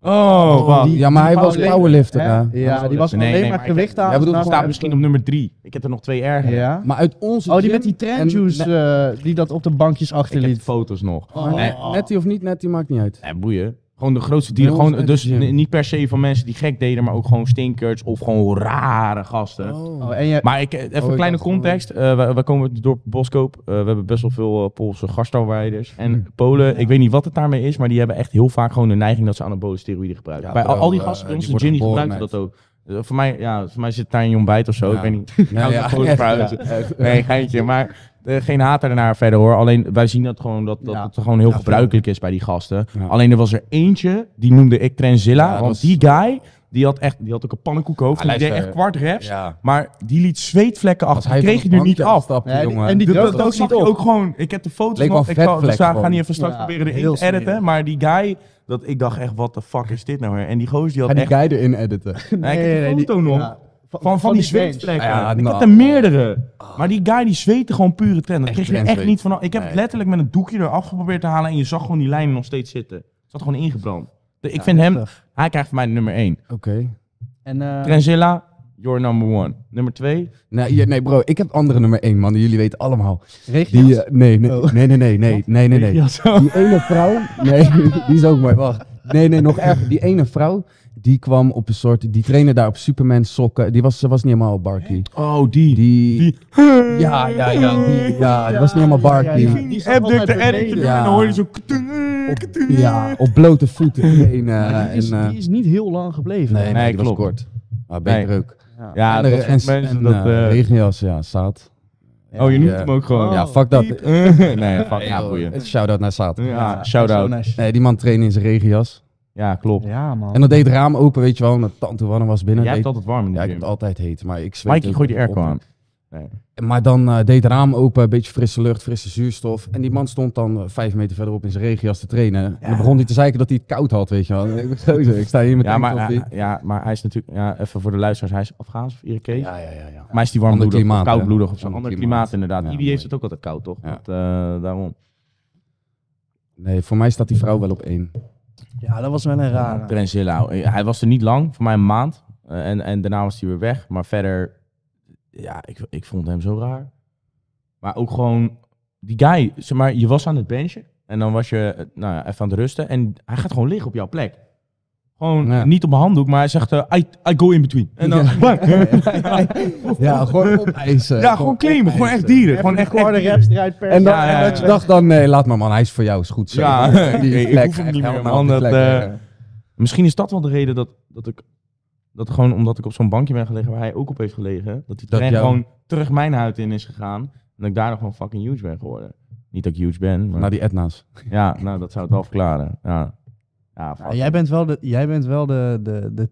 B: Oh, wow.
A: ja, maar hij was
B: powerlifter,
A: powerlifter.
C: Hè?
A: hè?
C: Ja, die was
B: Nee,
C: alleen
B: nee,
C: maar
B: maar ik-
C: gewicht
A: Jij
C: aan.
A: bedoelt,
B: staat misschien op nummer drie. Ik heb er nog twee erger.
C: eh, Ja.
A: Maar uit onze
C: Oh, die
A: gym
C: met die
A: en-
C: trendjuice
A: ne-
C: eh, die dat op de bankjes
B: Ik heb de
C: achterliet.
B: foto's nog.
C: Oh.
B: Nee,
A: Netty of niet netty maakt niet uit.
B: nee, boeien. Gewoon de grootste dieren.
A: Bij ons
B: Gewoon,
A: uit de
B: dus
A: gym.
B: n- niet per se van mensen die gek deden, maar ook gewoon stinkers of gewoon rare gasten.
C: Oh, en je,
B: Maar ik, eh, even
A: Oh,
B: een
A: ik
B: kleine
A: dacht gewoon-
B: context. Eh we, komen uit het dorp Boskoop. Eh, we hebben best wel veel eh, Poolse gastarbeiders. En Polen, ik weet niet wat het daarmee is, maar die hebben echt heel vaak gewoon de neiging dat ze anabole steroïden gebruiken.
A: Ja,
B: Bij al,
A: bro,
B: al die
A: eh,
B: gasten bij
A: die
B: ons
A: worden
B: in gym die
A: geboren
B: gebruiken dat ook. Eh, voor, mij, ja, voor mij zit daar een ontbijt of zo.
A: Ja.
B: Ik weet <laughs> niet.
A: Ja,
B: Nou,
A: ja,
B: Polen
A: echt,
B: <laughs> verhuizen.
A: ja, echt.
B: Nee, geintje. Maar eh, geen haat daarnaar verder hoor. Alleen wij zien dat gewoon dat, dat
C: Ja.
B: het gewoon heel
A: Ja,
B: gebruikelijk is bij die gasten.
A: Ja.
B: Alleen er was er eentje, die noemde ik Trenzilla.
A: Ja, dat
B: want
A: was-
B: die guy, die had, echt, die had ook een pannenkoekhoofd.
A: Hij
B: en die deed
A: lijkt,
B: echt
A: eh,
B: kwart reps.
A: Ja.
B: Maar die liet zweetvlekken
A: Als
B: achter.
A: hij
B: Die kreeg je
A: van
B: er
A: het
B: niet
A: bankje
B: af.
A: afstapte,
C: Nee, die-
A: jongen.
C: en die
B: Dat,
C: droogte
B: dat,
C: ook
B: zag
C: niet
B: je
C: op.
B: ook gewoon. Ik heb de foto's
A: Leek
B: nog.
A: wel
B: Ik zal-
A: vetvlek
B: dus we gaan
A: gewoon.
B: niet even straks
C: Ja,
B: proberen erin
C: heel
B: te editen.
C: smerig.
B: Maar die guy, dat ik dacht echt, wat de fuck is dit nou weer? En die gozer die
A: Ga
B: had
A: die
B: echt...
A: guy erin
C: <laughs>
A: editen.
B: Nee, ik heb de foto nog.
C: ja,
B: Van, van, die
C: bench.
B: zweetvlekken.
A: Ja,
B: ik
A: nou.
B: had er meerdere. Maar die guy die zweette gewoon pure trend. Dat
A: Echt
B: kreeg je er echt
A: trendzweet.
B: niet van. Ik heb het
A: Nee.
B: letterlijk met een doekje eraf geprobeerd te halen. En je zag gewoon die lijnen nog steeds zitten. Het zat gewoon ingebrand. De- Ik vind hem...
C: heftig.
B: Hij krijgt van mij de nummer 1.
A: Oké.
C: En, eh,
B: Trenzilla, you're number one. Nummer 2,
A: Nee, je- nee, bro, ik heb andere nummer één, man. Jullie weten allemaal.
C: regenjas.
A: Die, eh, nee, nee,
C: Oh.
A: nee, nee, nee, nee, nee, nee, nee. Die ene vrouw, nee, <laughs> die is ook mooi, wacht. Nee, nee, nog erger. Die ene vrouw, die kwam op een soort, die trainde daar op Superman sokken. Die was, ze was niet helemaal barkie.
B: Oh, die.
A: Die,
B: Die-
A: ja, ja, ja, die, ja, die was niet helemaal barkie.
C: Ja, die
B: Die
C: zat
B: appdukte
C: altijd
B: editen
A: beneden.
B: en dan hoor je zo...
A: Op, ja, op blote voeten. En, eh,
C: Maar die, is,
A: en, eh,
C: die is niet heel lang gebleven.
A: nee, nee,
B: Nee,
A: die was
B: klopt.
A: kort. Maar beter
B: Nee.
A: ook.
B: Ja,
A: en,
B: dat
A: en,
B: soort mensen
A: en,
B: dat...
A: eh,
B: eh,
A: regenjas, ja, zaad.
B: oh, je noemt
A: ja.
B: hem ook gewoon.
C: Oh.
A: ja, fuck dat.
B: Piep. <laughs> nee, fuck, ja, boeien.
A: Shout-out naar zaad.
B: Ja, shout-out.
C: Zo nice.
A: Nee, die man trainde in zijn regenjas.
B: Ja, klopt.
C: Ja, man.
A: En dan deed het raam open, weet je wel, omdat tante Wanne was binnen.
B: Jij hebt
A: Deed-
B: altijd warm in de
A: ja, ik
B: gym.
A: heb het altijd heet, maar ik zweet
B: Mikey,
A: ook
B: gooi die
A: op-
B: airco aan.
A: Maar dan eh, deed het raam open, een beetje frisse lucht, frisse zuurstof. En die man stond dan eh, vijf meter verderop in zijn regenjas te trainen. En dan begon hij te zeiken dat hij het koud had, weet je wel.
B: <laughs>
A: <laughs> Ik, gozer, ik sta hier met
B: Ja maar, eh,
A: tanktop, die-
B: hij- ja, maar hij is natuurlijk... Ja, even voor de luisteraars. Hij is Afghaans of Irakees.
A: ja, ja, ja, ja.
B: Maar hij is die
A: Ander
B: warmbloedig of
A: klimaat, hè?
B: koudbloedig of zo'n
A: Ander
B: ander
A: klimaat.
B: klimaat inderdaad.
A: Ja,
B: Ibi
A: mooi.
B: heeft het ook altijd koud, toch?
A: Ja.
B: Dat, eh, daarom.
A: Nee, voor mij staat die vrouw wel op
B: <laughs>
A: één.
C: Ja, dat was wel een rare.
B: Trenzilla. eh, Hij was er niet lang, voor mij een maand. Eh, en, en daarna was hij weer weg. Maar verder, ja, ik, ik vond hem zo raar. Maar ook gewoon, die guy, zeg maar, je was aan het benchen. En dan was je, eh, nou ja, even aan het rusten. En hij gaat gewoon liggen op jouw plek. Gewoon
A: Ja.
B: niet op mijn handdoek, maar hij zegt, eh, I, I go in between. En dan,
A: Ja.
B: bang. ja,
A: <laughs> Ja, eh, gewoon <laughs> opeisen.
B: gewoon claimen. Gewoon echt
A: opeisen.
B: dieren. Gewoon echt, echt
C: Korte
B: dieren.
C: reps eruit per
A: En, dan,
B: Ja, ja,
A: en dat je
B: ja.
A: dacht dan, nee, laat maar man, hij is voor jou, is goed zo. <laughs>
B: Ja,
A: Die
B: ik- ik
A: plek,
B: hoef hem
A: hij gaat
B: niet meer,
A: helemaal
B: man,
A: Nou, op die
B: dat,
A: plek,
B: eh,
A: ja.
B: Misschien is dat wel de reden dat, dat ik... Dat gewoon omdat ik op zo'n bankje ben gelegen waar hij ook op heeft gelegen. Dat die
A: Dat
B: trein
A: jou-
B: gewoon terug mijn huid in is gegaan. En dat ik daardoor gewoon fucking huge ben geworden. Niet dat ik huge ben, maar
A: Naar die Etna's.
B: ja, nou, dat zou het wel verklaren. Ja, ja fuck.
C: jij bent wel de, jij bent wel de, de, de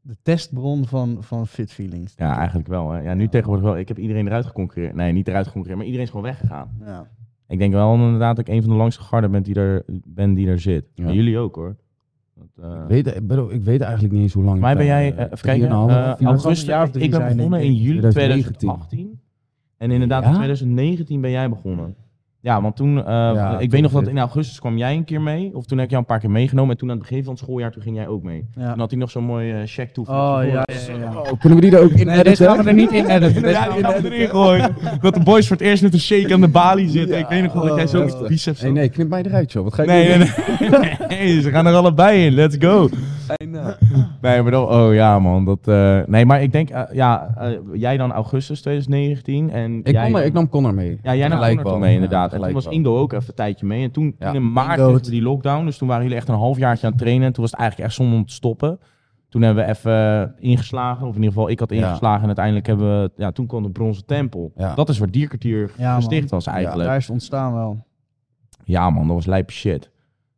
C: de testbron van, van fit feelings.
B: Ja, eigenlijk wel. Hè. Ja, nu
C: Ja.
B: tegenwoordig wel. Ik heb iedereen eruit geconcureerd. Nee, niet eruit geconcureerd, maar iedereen is gewoon weggegaan.
C: Ja.
B: Ik denk wel inderdaad dat ik een van de langst gegarden bent die er, ben die er zit.
A: Ja.
B: En jullie ook hoor. Want, eh,
A: Ik weet, ik bedoel, ik weet eigenlijk niet eens hoe lang.
B: Volgens mij
A: ik
B: ben jij,
A: eh,
B: eh, even kijken,
A: drieënhalf,
B: eh,
A: vier-
B: augustus,
C: jaar of drie
B: ik ben
C: zijn,
B: begonnen
C: denk
B: in
C: ik.
B: juli
A: 2019.
B: 2018. En inderdaad in
A: Ja?
B: 2019 ben jij begonnen. Ja, want toen, eh, ik
A: toen
B: weet nog dat
A: dit-
B: in augustus kwam jij een keer mee. Of toen heb ik jou een paar keer meegenomen. En toen aan het begin van het schooljaar, toen ging jij ook mee.
C: Ja.
B: Toen had hij nog zo'n mooi eh, check toe. van
C: Oh
B: tevoren.
C: ja, ja, ja.
A: Oh, kunnen we die er ook in
C: Nee, deze gaan we er niet in
B: <laughs>
C: editen. Deze
B: Ja,
C: gaan
B: die
C: we-
B: hebben we nou erin gooien. Dat de boys voor het eerst met een shake aan de balie zitten. ik weet nog wel dat jij zo
C: Oh,
B: met de biceps
A: Nee,
B: zat.
A: nee, knip mij eruit, joh. Wat ga je doen?
B: Nee, nee, nee. <laughs> Nee, ze gaan er allebei in. Let's go. Nee, maar dan, oh ja, man. Dat, eh, nee, maar ik denk, eh, ja, eh, jij dan augustus 2019 en
A: Ik,
B: jij,
A: kon er- ik nam Connor mee.
B: ja, jij nam
A: Gelijk
B: Connor toen
A: wel,
B: mee
A: ja,
B: inderdaad. en toen
A: gelijk
B: was
A: wel.
B: Ingo ook even een tijdje mee. En toen
A: Ja,
B: in maart
A: Ingo
B: kregen we
A: het-
B: die lockdown, dus toen waren jullie echt een half jaartje aan het trainen. En toen was het eigenlijk echt zonde om te stoppen. Toen hebben we even ingeslagen, of in ieder geval ik had
A: Ja.
B: ingeslagen. En uiteindelijk hebben we, ja, toen kwam de Bronzen Tempel.
A: Ja.
B: Dat is waar Dierkwartier
C: Ja, man.
B: gesticht was eigenlijk.
C: Daar is het ontstaan wel.
B: Ja, man, dat was lijp shit.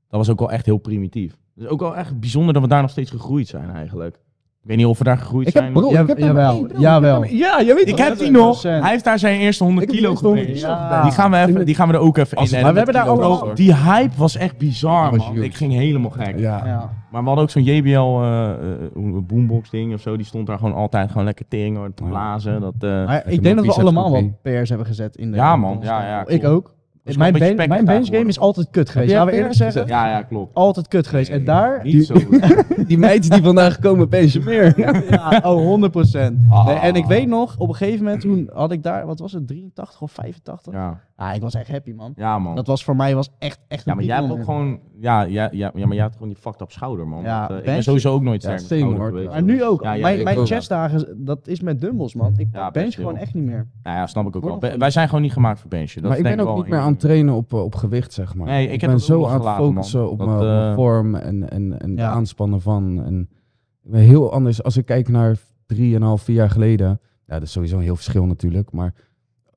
B: Dat was ook wel echt heel primitief. Dus ook wel echt bijzonder dat we daar nog steeds gegroeid zijn eigenlijk. Ik weet niet of we daar gegroeid
A: Ik heb
B: zijn.
A: bro,
C: Ja-
A: ik heb hem-
C: jawel,
A: hey, bro, ik heb
C: jawel.
A: hem- Ja, je weet
B: ik
A: wel.
B: heb die nog.
C: 100%.
B: Hij heeft daar zijn eerste 100
A: Ik heb
B: kilo
A: die nog.
B: geweest.
C: Ja.
B: Die, gaan we even, die gaan we er ook even
A: Als-
B: in.
A: maar we hebben daar
B: Bro,
A: allemaal over.
B: Die hype was echt bizar,
A: Die was
B: man.
A: huge.
B: Ik ging helemaal gek.
A: Ja.
C: Ja.
B: Maar we hadden ook zo'n JBL eh, eh, boombox ding of zo. Die stond daar gewoon altijd gewoon lekker tering hoor, te
A: Ja.
B: blazen. Dat, eh,
C: Maar ik
A: een
C: denk dat we
A: biceps
C: allemaal
A: copy.
C: wel PR's hebben gezet in de
B: Ja, man.
C: in de stapel.
B: Ja, ja,
C: Ik
B: klopt.
C: ook.
B: is
C: Mijn,
B: wel een beetje
C: ben,
B: spek
C: mijn bench game
B: geworden.
C: is altijd kut geweest.
A: jij
C: Laten we
A: PR's
C: eerlijk zeggen.
B: ja, ja, klopt.
C: Altijd kut geweest. En daar...
B: Niet zo goed.
A: <laughs> Die meid die vandaag komen, pensioneer.
C: Ja, oh, 100
B: Ah.
C: Nee, en ik weet nog, op een gegeven moment toen had ik daar, wat was het, 83 of 85?
B: Ja,
C: Ah, ik was echt happy, man.
B: ja man.
C: Dat was voor mij was echt, echt
B: Ja,
C: een
B: maar jij hebt ook
C: piekmoment.
B: gewoon. Ja, ja, ja, ja, maar jij hebt gewoon die fucked up schouder, man.
C: Ja,
B: Want, eh, ik
C: bench-
B: ben sowieso ook nooit
A: Ja,
B: sterk. met
A: steen,
B: schouder
A: hoor.
B: geweest.
C: Maar nu ook.
B: Ja, ja,
C: mijn
B: ik
C: mijn
B: ook.
C: chestdagen, dat is met dumbbells, man. Ik
B: Ja,
C: bench
B: best
C: gewoon
B: veel.
C: echt niet meer.
B: Ja, ja, snap ik ook
C: Hoor
B: wel.
C: nog
B: Wij- Wij zijn gewoon niet gemaakt voor benchen. Dat
A: Maar ik
B: is
A: ben
B: denk
A: ook
B: wel
A: niet meer
B: een-
A: aan het trainen op, eh, op gewicht, zeg maar.
B: Nee, ik heb
A: ben
B: dat ook
A: zo aan het
B: losgelaten, man.
A: focussen op
B: Dat,
A: mijn op mijn
B: eh,
A: vorm en, en, en
C: Ja.
A: het aanspannen van. En ik ben heel anders als ik kijk naar drieënhalf, vier jaar geleden. Ja, dat is sowieso een heel verschil natuurlijk. Maar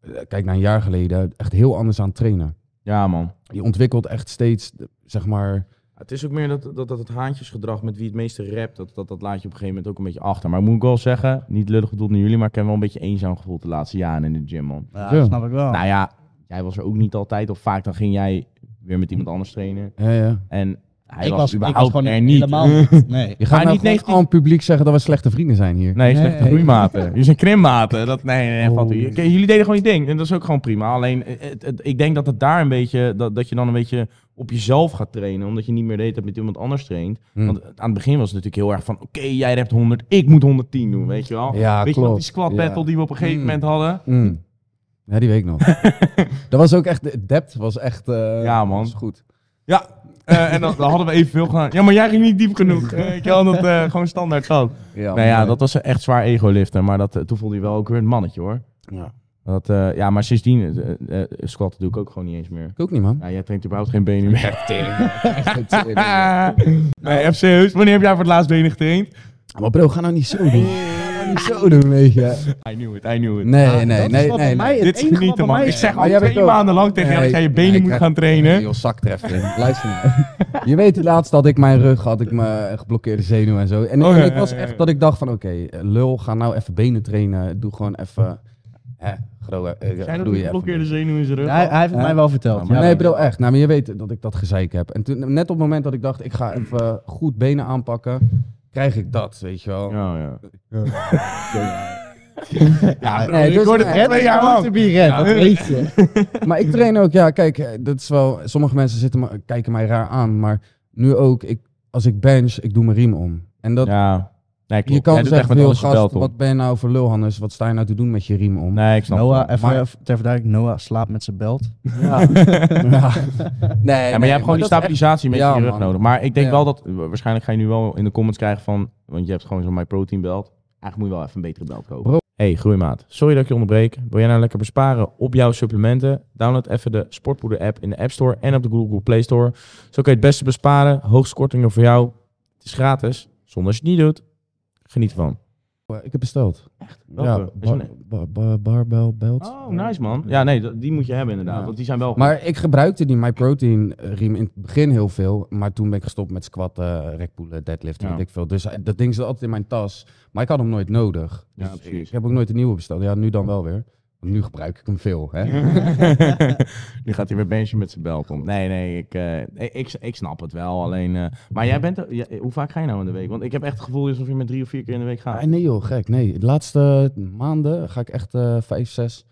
A: eh, kijk naar een jaar geleden, echt heel anders aan het trainen.
B: Ja, man.
A: Je ontwikkelt echt steeds, eh, zeg maar...
B: Het is ook meer dat, dat, dat het haantjesgedrag met wie het meeste rapt, dat, dat, dat laat je op een gegeven moment ook een beetje achter. Maar moet ik wel zeggen, niet lullig bedoeld naar jullie, maar ik heb wel een beetje eenzaam gevoeld de laatste jaren in de gym, man.
C: Ja,
A: Ja.
C: dat snap ik wel.
B: Nou ja, jij was er ook niet altijd, of vaak dan ging jij weer met iemand anders trainen.
A: Ja, ja.
B: En hij
C: ik
B: was,
C: was, ik was
B: überhaupt
C: gewoon
B: er niet. <laughs>
C: helemaal niet. Nee.
A: Je gaat
B: Maar
A: nou
B: niet
A: niet
B: negatief-
A: aan het publiek zeggen dat we slechte vrienden zijn hier.
B: Nee, slechte
C: Nee.
B: groeimaten. Jullie zijn krimmaten. Dat, nee, nee, nee,
A: Oh.
B: vat u. Kijk, Jullie deden gewoon je ding. En dat is ook gewoon prima. Alleen, eh, het- het- ik denk dat het daar een beetje... Dat, dat je dan een beetje op jezelf gaat trainen. Omdat je niet meer de hele tijd met iemand anders traint.
A: Hm.
B: Want aan het begin was het natuurlijk heel erg van... Oké, jij hebt 100, ik moet 110 doen, weet je wel?
A: Ja,
B: weet je nog
A: klopt.
B: die squat
A: Ja.
B: battle die we op een gegeven
A: Mm.
B: moment hadden?
A: Mm. Ja, die weet
B: <laughs>
A: ik nog. dat was ook echt... de Depth was echt... eh,
B: Ja, man.
A: was goed.
B: Ja, eh, en dan, dan hadden we evenveel gedaan. Ja, maar jij ging niet
A: <laughs>
B: diep genoeg. Eh, ik had dat eh, gewoon standaard gehad.
A: Ja,
B: nou ja,
A: maar-
B: dat was echt zwaar ego-liften. Maar dat, eh, toen voelde je wel ook weer een mannetje, hoor.
A: Ja.
B: Dat, eh, ja, maar sindsdien eh, eh, squat doe ik ook gewoon niet eens meer.
A: Ik ook niet,
B: <laughs>
A: man.
B: Ja, jij traint überhaupt geen benen meer. <laughs>
A: maar
B: nee, FC Heus, wanneer heb jij voor het laatst benen getraind?
A: bro, ga nou niet zo doen. Ga niet zo doen, weet je.
B: I knew it, I knew it.
A: Nee,
C: Ah,
A: nee,
C: dat
A: nee,
C: is
A: nee.
C: wat
A: nee.
C: bij mij het
B: Dit is
C: enige wat
B: genieten,
C: bij
B: man.
C: mij
B: Ik
C: is-
B: zeg
A: Maar
B: al
A: jij bent
B: twee
A: ook-
B: maanden lang tegen jou dat
A: Nee,
B: jij je benen
A: nee,
B: moet
A: ik-
B: gaan trainen.
A: joh, zak treffen. Luister nou. Je weet, laatst had ik mijn rug, had ik mijn geblokkeerde zenuw en zo. En,
B: Oh,
A: en
B: ja,
A: ik
B: ja,
A: was
B: ja, ja.
A: echt dat ik dacht van, oké, eh, lul, ga nou even benen trainen. Doe gewoon even, hè, groe, eh,
B: Zijn dat
A: doe
B: een
A: je even.
B: geblokkeerde zenuw in zijn rug?
C: Hij, hij heeft het
A: Ja.
C: mij wel verteld.
B: Ja,
A: nee,
C: Ja,
A: ik bedoel echt. Nou, maar je weet dat ik dat gezeik heb. En toen, net op het moment dat ik dacht, ik ga even eh, goed benen aanpakken, krijg ik dat, weet je wel.
B: Ja, ja.
A: Ja,
B: bro, ik hoor het echt
C: Red
B: twee
C: is
B: jaar
C: going
B: lang.
C: to be red, dat weet je.
A: Maar ik train ook, ja, kijk, eh, dat is wel. Sommige mensen zitten me- kijken mij raar aan, maar nu ook, ik, als ik bench, ik doe mijn riem om. En dat,
B: Ja. Nee, klopt.
A: je kan
B: Jij doet echt
A: zeggen,
B: met
A: heel
B: alles je
A: gast,
B: belt om.
A: wat ben je nou voor lulhannes? Wat sta je nou te doen met je riem om?
B: Nee, ik <laughs> snap het.
C: Noah,
B: wel.
C: even
A: Maar-
C: even ter verduidelijking, Noah slaapt met zijn belt.
A: <laughs> Ja. Ja. Nee,
B: Ja, maar
A: nee,
B: je hebt gewoon die
A: dat is echt-
B: stabilisatie met
A: Ja,
B: je rug
A: man.
B: nodig. Maar ik denk
A: Ja.
B: wel dat... Waarschijnlijk ga je nu wel in de comments krijgen van... Want je hebt gewoon zo'n MyProtein belt. Eigenlijk moet je wel even een betere belt kopen.
A: Bro.
B: Hey, groeimaat. Sorry dat ik je onderbreek. Wil jij nou lekker besparen op jouw supplementen? Download even de Sportpoeder app in de App Store en op de Google Play Store. Zo kun je het beste besparen. Hoogste kortingen voor jou. Het is gratis. Zonder als je het niet doet. Geniet ervan.
A: Ik heb besteld. Ja,
B: Welke? Is er
A: bar, bar, bar- barbell belt.
B: Oh, nice man. Ja, nee, dat- die moet je hebben inderdaad.
A: Ja.
B: Want die zijn wel goed.
A: Maar ik gebruikte die MyProtein eh, riem in het begin heel veel. Maar toen ben ik gestopt met squatten, rekpoelen, deadliften,
B: Ja.
A: weet ik veel. Dus eh, dat ding zat altijd in mijn tas. Maar ik had hem nooit nodig.
B: Ja,
A: Dus
B: precies.
A: ik heb ook nooit een nieuwe besteld. Ja, nu dan wel weer. Want nu gebruik ik hem veel. Hè?
B: <laughs> nu gaat hij weer benchen met zijn bel om. Nee, nee, ik, eh, nee, ik, ik snap het wel. Alleen, eh, maar jij bent, er- jij- hoe vaak ga je nou in de week? Want ik heb echt het gevoel alsof je met drie of vier keer in de week gaat.
A: Ah, nee joh, gek. Nee, de laatste maanden ga ik echt eh, vijf, zes,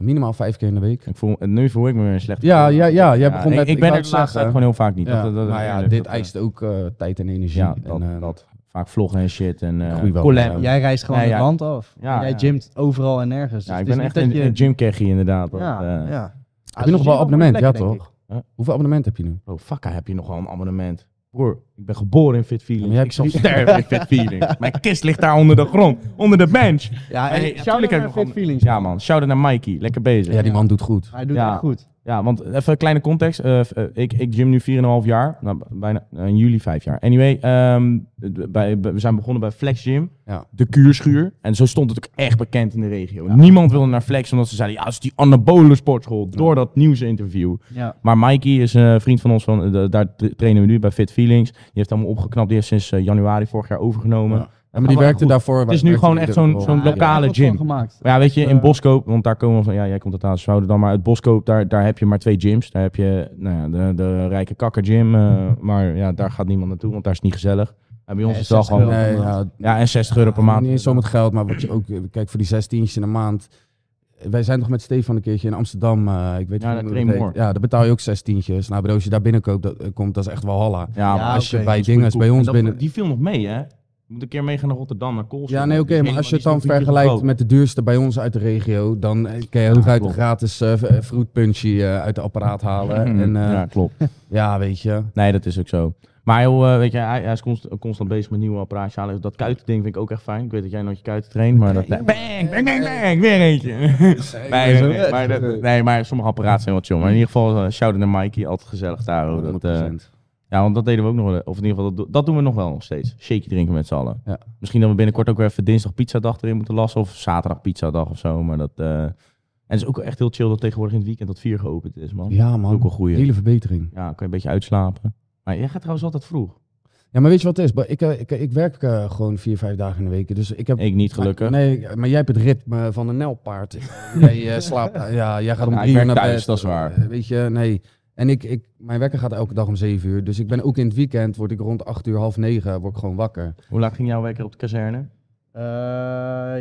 A: minimaal vijf keer in de week.
B: Ik voel, en nu voel ik me weer een slecht.
A: Ja, ja, ja. Jij begon
B: ik,
A: net,
B: ik ben
A: wou
B: er de
A: het
B: laatste tijd
A: zeggen.
B: gewoon heel vaak niet.
A: Ja,
B: Dat- dat-
A: maar ja,
B: eerlijk,
A: dit
B: dat, eh,
A: eist ook eh, tijd en energie.
B: Ja, dat,
A: en, eh,
B: dat. Vaak vloggen en shit. En eh
A: groei wel,
B: collab.
A: ja.
B: Ja,
C: Jij reist gewoon
B: Nee,
C: het
B: ja.
C: land af.
B: Ja,
C: jij
B: ja.
C: gymt overal en nergens. Dus
B: ik
C: het is
B: ben
C: niet
B: echt een,
C: dat je...
B: een gymkeggie inderdaad. dat,
C: Ja,
B: eh.
C: ja.
A: Heb je nog wel abonnement? Ja, toch?
B: Huh?
A: Hoeveel abonnement heb je nu?
B: Oh, fuck, heb je nog wel een abonnement. Broer, ik ben geboren in Fit
A: Ja,
B: Feelings.
A: maar jij
B: ik zal
A: hebt
B: sterven in Fit Feelings. Mijn kist ligt daar onder de grond. Onder de bench.
C: Ja,
B: Hey,
C: en
B: natuurlijk
C: shout-out
B: heb
C: naar
B: ik
C: Fit
B: nog-
C: Feelings.
B: Ja man, shout-out naar Mikey. Lekker bezig.
A: Ja, die man doet goed.
C: Hij doet
B: Ja.
C: het goed.
B: Ja, want even een kleine context. Eh, eh, ik, ik gym nu 4,5 jaar. Nou, b- bijna eh, in juli 5 jaar. Anyway, ehm, d- bij, bij- we zijn begonnen bij Flex Gym.
A: Ja.
B: De kuurschuur. En zo stond het ook echt bekend in de regio. Niemand wilde naar Flex, omdat ze zeiden... Ja, het is die anabole sportschool. Door dat nieuwsinterview.
C: Ja.
B: Maar Mikey is eh, een vriend van ons. Van, eh, daar tra- trainen we nu bij Fit Feelings. Die heeft allemaal opgeknapt. Die heeft sinds eh, januari vorig jaar overgenomen.
A: Ja. Ja, maar die werkte
B: goed.
A: daarvoor.
B: is nu gewoon echt zo'n- zo'n
C: Ja,
B: lokale
C: daar heb ik wat
B: gym.
C: van Gemaakt.
B: Maar ja, weet je, in
C: Eh,
B: Boskoop, want daar komen we van, ja, jij komt uit Azershouden dan, maar het Boskoop, daar, daar heb je maar twee gyms. Daar heb je nou ja, de, de rijke kakker
A: <laughs>
B: gym, eh, maar ja, daar gaat niemand naartoe, want daar is het niet gezellig. En bij ons
C: Nee,
B: is het wel
C: 60
B: gewoon,
C: euro.
A: Nee, ja,
B: ja, en 60 euro per
A: Eh, Ja,
B: maand.
A: Niet eens zo met geld, maar wat je ook, eh, kijk, voor die zestientjes in een maand. Wij zijn nog met Stefan een keertje in Amsterdam. eh, ik weet
B: Ja,
A: niet
B: dat
A: hoe het heet.
B: Tremor.
A: Ja, daar betaal je ook zestientjes. Nou, broodje daar binnen koopt, dat, eh, komt, dat is echt wel halla.
B: Ja,
C: Ja,
B: maar
A: als je
C: oké,
A: bij
B: dat is goede
A: dingen is bij
B: koek.
A: ons
B: En dat-
A: binnen.
B: Die viel nog mee, hè? Je moet een keer meegaan naar Rotterdam, naar Koolstroom.
A: Ja, nee, oké,
B: Die is
A: maar als je het
B: helemaal-
A: dan
B: die is nog
A: vergelijkt
B: goedkoop.
A: met de duurste bij ons uit de regio, dan eh, kan je hooguit een
B: klopt.
A: gratis eh, v- eh, fruit punchy eh, uit de apparaat halen. En eh,
B: <laughs> Hmm, Ja,
A: ja.
B: klopt.
A: weet je.
B: Nee, dat is ook zo. Maar joh, eh, weet je, hij, hij is const- constant, bezig met nieuwe apparaatjes halen. Dat kuiten ding vind ik ook echt fijn. Ik weet dat jij nooit je kuiten traint, maar dat... Bang, bang, bang, bang, weer eentje. Nee, nee, nee, maar, dat- nee, maar sommige apparaten zijn wat jong. Maar in ieder geval, eh, shout-out naar Mikey, altijd gezellig daar. hoor. Dat, eh,
A: 100%.
B: ja, want dat deden we ook nog wel. Of in ieder geval, dat, do- dat doen we nog wel nog steeds. Shaky drinken met z'n allen.
A: Ja.
B: Misschien dat we binnenkort ook weer even dinsdag pizzadag erin moeten lassen. Of zaterdag pizzadag of zo. Maar dat... eh, en het is ook echt heel chill dat tegenwoordig in het weekend dat vier geopend is, man.
A: Ja,
B: Dat is ook
A: man.
B: een goeie.
A: Hele verbetering.
B: Ja, kan je een beetje uitslapen. Maar jij gaat trouwens altijd vroeg.
A: Ja, maar weet je wat het is? Maar Ik, eh, ik, ik werk eh, gewoon vier, vijf dagen in de week. Dus ik heb.
B: Ik niet, gelukkig.
A: Nee, maar jij hebt het ritme van een nelpaard.
B: <laughs>
A: jij eh, slaapt. ja, jij gaat om
B: Ja, ik
A: drie uur
B: werk
A: naar
B: thuis,
A: bed.
B: dat is waar.
A: Eh, weet je, nee. En ik, ik, mijn wekker gaat elke dag om zeven uur. Dus ik ben ook in het weekend, word ik rond acht uur, half negen, word ik gewoon wakker.
B: Hoe laat ging jouw wekker op de kazerne?
C: Eh,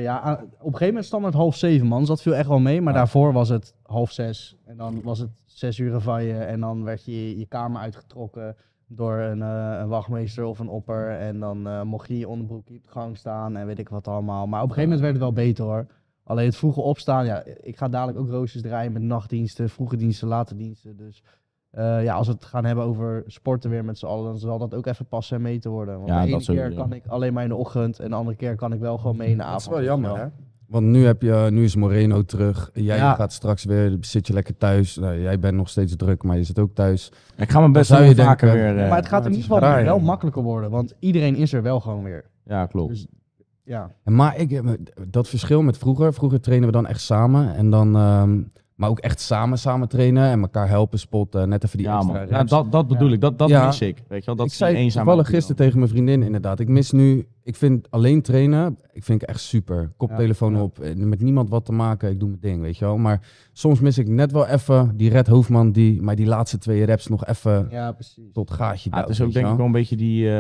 C: ja, aan- op een gegeven moment standaard half zeven man. Dus dat viel echt wel mee. Maar
B: Ja.
C: daarvoor was het half zes. En dan was het zes uur van je. En dan werd je je kamer uitgetrokken door een, eh, een wachtmeester of een opper. En dan eh, mocht je je onderbroek hier op de gang staan en weet ik wat allemaal. Maar op een gegeven moment werd het wel beter hoor. Alleen het vroege opstaan. Ja, ik ga dadelijk ook roosters draaien met nachtdiensten, vroege diensten, late diensten. Dus eh, ja, als we het gaan hebben over sporten weer met z'n allen, dan zal dat ook even passen en mee te worden. Want
B: Ja,
C: de
B: dat
C: ene keer
B: sowieso.
C: kan ik alleen maar in de ochtend en de andere keer kan ik wel gewoon mee in de avond. Ja.
A: Want nu, heb je, nu is Moreno terug. Jij
C: Ja.
A: gaat straks weer, zit je lekker thuis. Nou, jij bent nog steeds druk, maar je zit ook thuis.
B: Ik ga mijn best
A: zou
B: doen om
A: je
B: vaker
A: denken.
B: weer. eh,
C: Maar het gaat
A: maar
C: in
A: het
C: ieder
A: is
C: geval
A: raar,
C: wel
A: ja.
C: makkelijker worden, want iedereen is er wel gewoon weer.
B: Ja, klopt.
C: Dus ja,
A: En Maar ik, eh, dat verschil met vroeger. Vroeger trainen we dan echt samen. En dan, ehm, maar ook echt samen samen trainen. En elkaar helpen, spotten. Net even die
B: ja,
A: extra
B: man.
A: reps.
B: Ja, dat, dat bedoel
C: Ja.
B: ik. Dat, dat
A: Ja.
B: mis ik. Weet je wel? Dat
A: ik
B: is die
A: zei
B: eenzaamheid
A: toevallig
B: die dan-
A: gisteren tegen mijn vriendin inderdaad. Ik mis nu, ik vind alleen trainen, ik vind ik echt super. Koptelefoon
B: Ja, ja.
A: op, eh, met niemand wat te maken, ik doe mijn ding, weet je wel. Maar soms mis ik net wel even die Red Hoofdman die mij die laatste twee reps nog even
C: ja precies.
A: tot gaatje
B: Ja, Ah, het is
A: duwt,
B: ook
A: weet
B: denk ik
A: je
B: wel een beetje die, eh,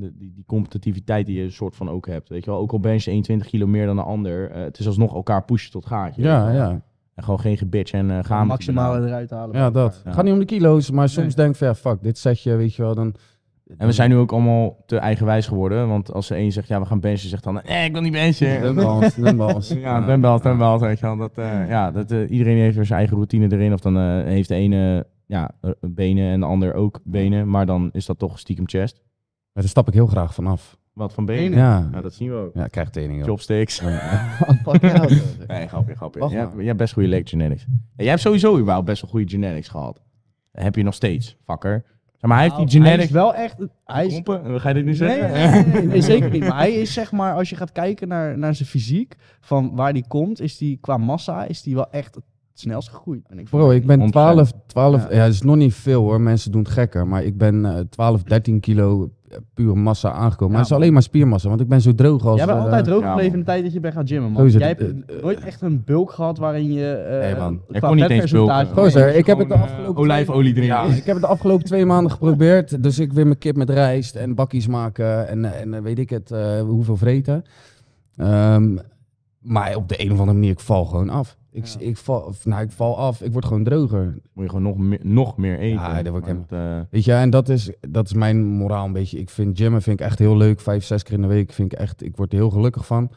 B: de- die, die competitiviteit die je soort van ook hebt. Weet je wel? Ook al ben je 21 kilo meer dan een ander, eh, het is alsnog elkaar pushen tot gaatje.
A: wel.
B: weet
A: Ja,
B: je wel.
A: ja.
B: En gewoon geen gebitch en eh gaan.
C: Gaan maximale eruit halen.
A: Ja, dat.
B: Ja.
A: Gaat niet om de kilo's, maar soms denk ik van ja, fuck, dit setje, weet je wel, dan...
B: En we zijn nu ook allemaal te eigenwijs geworden. Want als de een zegt, ja, we gaan benchen, zegt dan, eh, ik wil niet benchen.
A: Dumbbells,
C: <laughs>
A: dumbbells.
B: <laughs> Ja, dumbbells, dumbbells, weet je wel. Dat, eh, ja, dat, eh, iedereen heeft weer zijn eigen routine erin. Of dan eh, heeft de ene ja, eh, benen en de ander ook benen. Maar dan is dat toch stiekem chest.
A: Maar daar stap ik heel graag vanaf.
B: Wat van benen?
C: Benen.
A: Ja,
B: Ja, dat zien we ook.
A: ja ik krijg teningen. joh.
B: Chopsticks.
A: <laughs> Fuck jou, zeg.
B: Nee, grapje, grapje.
A: Wacht
B: Jij,
A: maar.
B: hebt- jij hebt best goede leg genetics. En jij hebt sowieso überhaupt best wel goede genetics gehad. Dat heb je nog steeds, fucker. Zo Ja, maar hij heeft
C: Nou,
B: die generic...
C: Hij is wel echt... Hij is,
B: Pompen? Ga je dit nu
C: Nee,
B: zeggen?
C: nee, nee, nee, nee, zeker niet. Maar hij is zeg maar, als je gaat kijken naar, naar zijn fysiek, van waar die komt, is die qua massa, is die wel echt het snelst gegroeid. Ben ik van
A: Bro, ik ben 12, 12
C: Ja.
A: ja. dat is nog niet veel hoor, mensen doen het gekker. Maar ik ben eh, 12, 13 kilo eh, pure massa aangekomen.
C: Ja,
A: maar het is
C: man.
A: alleen maar spiermassa, want ik ben zo droog als...
C: Jij bent
A: eh,
C: altijd droog
B: ja,
C: gebleven
B: man.
C: in de tijd dat je bent gaan gymmen, man.
A: Zo is het.
C: Jij hebt
A: Eh, eh,
C: nooit echt een bulk gehad waarin je eh
B: Nee, man.
C: qua
B: Ik kon niet eens
C: vetpercentage-
B: bulken.
A: Gozer,
B: Nee,
A: ik heb het de
B: gewoon,
A: afgelopen...
B: eh, olijfolie drinken.
A: Ja, <laughs> ik heb het de afgelopen twee maanden geprobeerd. Dus ik weer mijn kip met rijst en bakkies maken en, eh, en eh, weet ik het, eh, hoeveel vreten. Ehm, maar op de een of andere manier, ik val gewoon af. Ik,
C: Ja.
A: ik, val, of, nou, ik val af, ik word gewoon droger.
B: Moet je gewoon nog meer, nog meer eten.
A: Ja, dat wordt
B: Want, eh,
A: Weet je, en dat is, dat is mijn moraal een beetje. Ik vind gymmen vind ik echt heel leuk. Vijf, zes keer in de week vind ik echt, ik word er heel gelukkig van.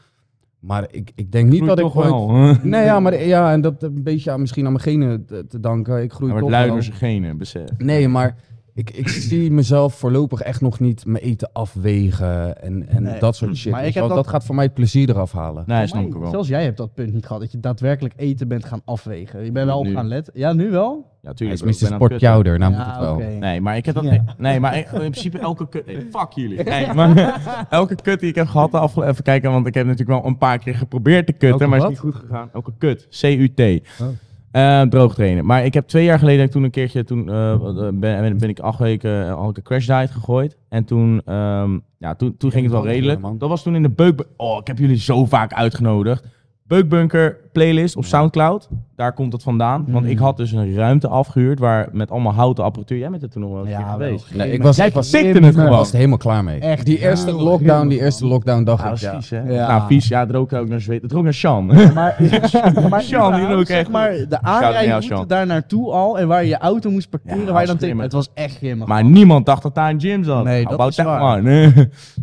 A: Maar ik, ik denk niet
B: groeit
A: dat ik
B: toch
A: ooit- <laughs>
B: wel. hè? Hij
A: Nee, ja, maar ja, en dat een beetje aan, misschien aan mijn genen te, te danken. Ik groei
B: wordt
A: toch
B: lui
A: wel.
B: door zijn genen, besef.
A: Nee, maar ik, ik zie mezelf voorlopig echt nog niet mijn eten afwegen en, en
C: Nee,
A: dat soort shit.
C: maar ik
A: weet je
C: heb
A: wel.
C: dat-
A: dat... gaat voor mij het plezier eraf halen.
B: Nee,
C: Voor
B: snap
C: mij,
B: ik wel.
C: Zelfs jij hebt dat punt niet gehad, dat je daadwerkelijk eten bent gaan afwegen. Je bent wel op
B: Nu.
C: gaan letten. Ja, nu wel?
B: Ja,
A: Hij is
B: tuurlijk. bro, ik
A: minstens
B: ben aan het kutten.
A: sportjouder, nou moet
C: Ja,
A: het wel.
C: oké.
B: Nee, maar ik heb dat.
C: Ja.
B: Nee, maar ik- in principe elke kut. nee, <laughs> fuck jullie. Nee, maar <laughs> elke kut die ik heb gehad de afgelopen. Even kijken, want ik heb natuurlijk wel een paar keer geprobeerd te kutten,
A: Elke
B: maar het
A: wat?
B: is niet goed gegaan. Elke kut. C-U-T.
A: Oh.
B: Eh, droog trainen. Maar ik heb twee jaar geleden heb ik toen een keertje. Toen eh, ben, ben- ben ik acht weken. eh, had ik een crash diet gegooid. En toen. ehm, ja, toen, toen ging het wel redelijk.
A: Man.
B: Dat was toen in de Beuk. Oh, ik heb jullie zo vaak uitgenodigd. Beukbunker playlist op Soundcloud. Daar komt het vandaan. Want ik had dus een ruimte afgehuurd waar met allemaal houten apparatuur. Jij bent er toen nog wel eens
C: Ja,
B: een keer
C: wel.
B: geweest.
A: Nee, ik was,
B: Jij
A: ik was,
B: vertikte
A: ik
B: het
A: was
B: gewoon.
A: er helemaal klaar mee.
C: Echt,
A: die
C: ja,
A: eerste
C: joh,
A: lockdown, die
C: helemaal,
A: eerste
C: man.
A: lockdown dacht
B: Ja,
A: ik,
B: Ah, dat is
A: ja.
B: vies, hè?
C: Ja.
B: Nou, vies. Ja, het rook ook naar zweet. Het rook naar Sean. <laughs> Ja,
C: Maar,
B: Sean,
C: maar,
B: die
C: überhaupt,
B: rook
C: zeg
B: echt.
C: maar de
B: Shout-out naar
C: aanrijding
B: Sean.
C: route daar naartoe al en waar je je auto moest parkeren,
B: Ja,
C: waar je dan
B: was
C: tegen...
B: grimmig.
C: Het was echt
A: Oh.
C: grimmig.
B: maar niemand dacht dat daar een gym zat.
C: Nee,
B: How
C: dat
B: about
C: is
B: that,
C: waar.
A: <laughs>
B: man? nee,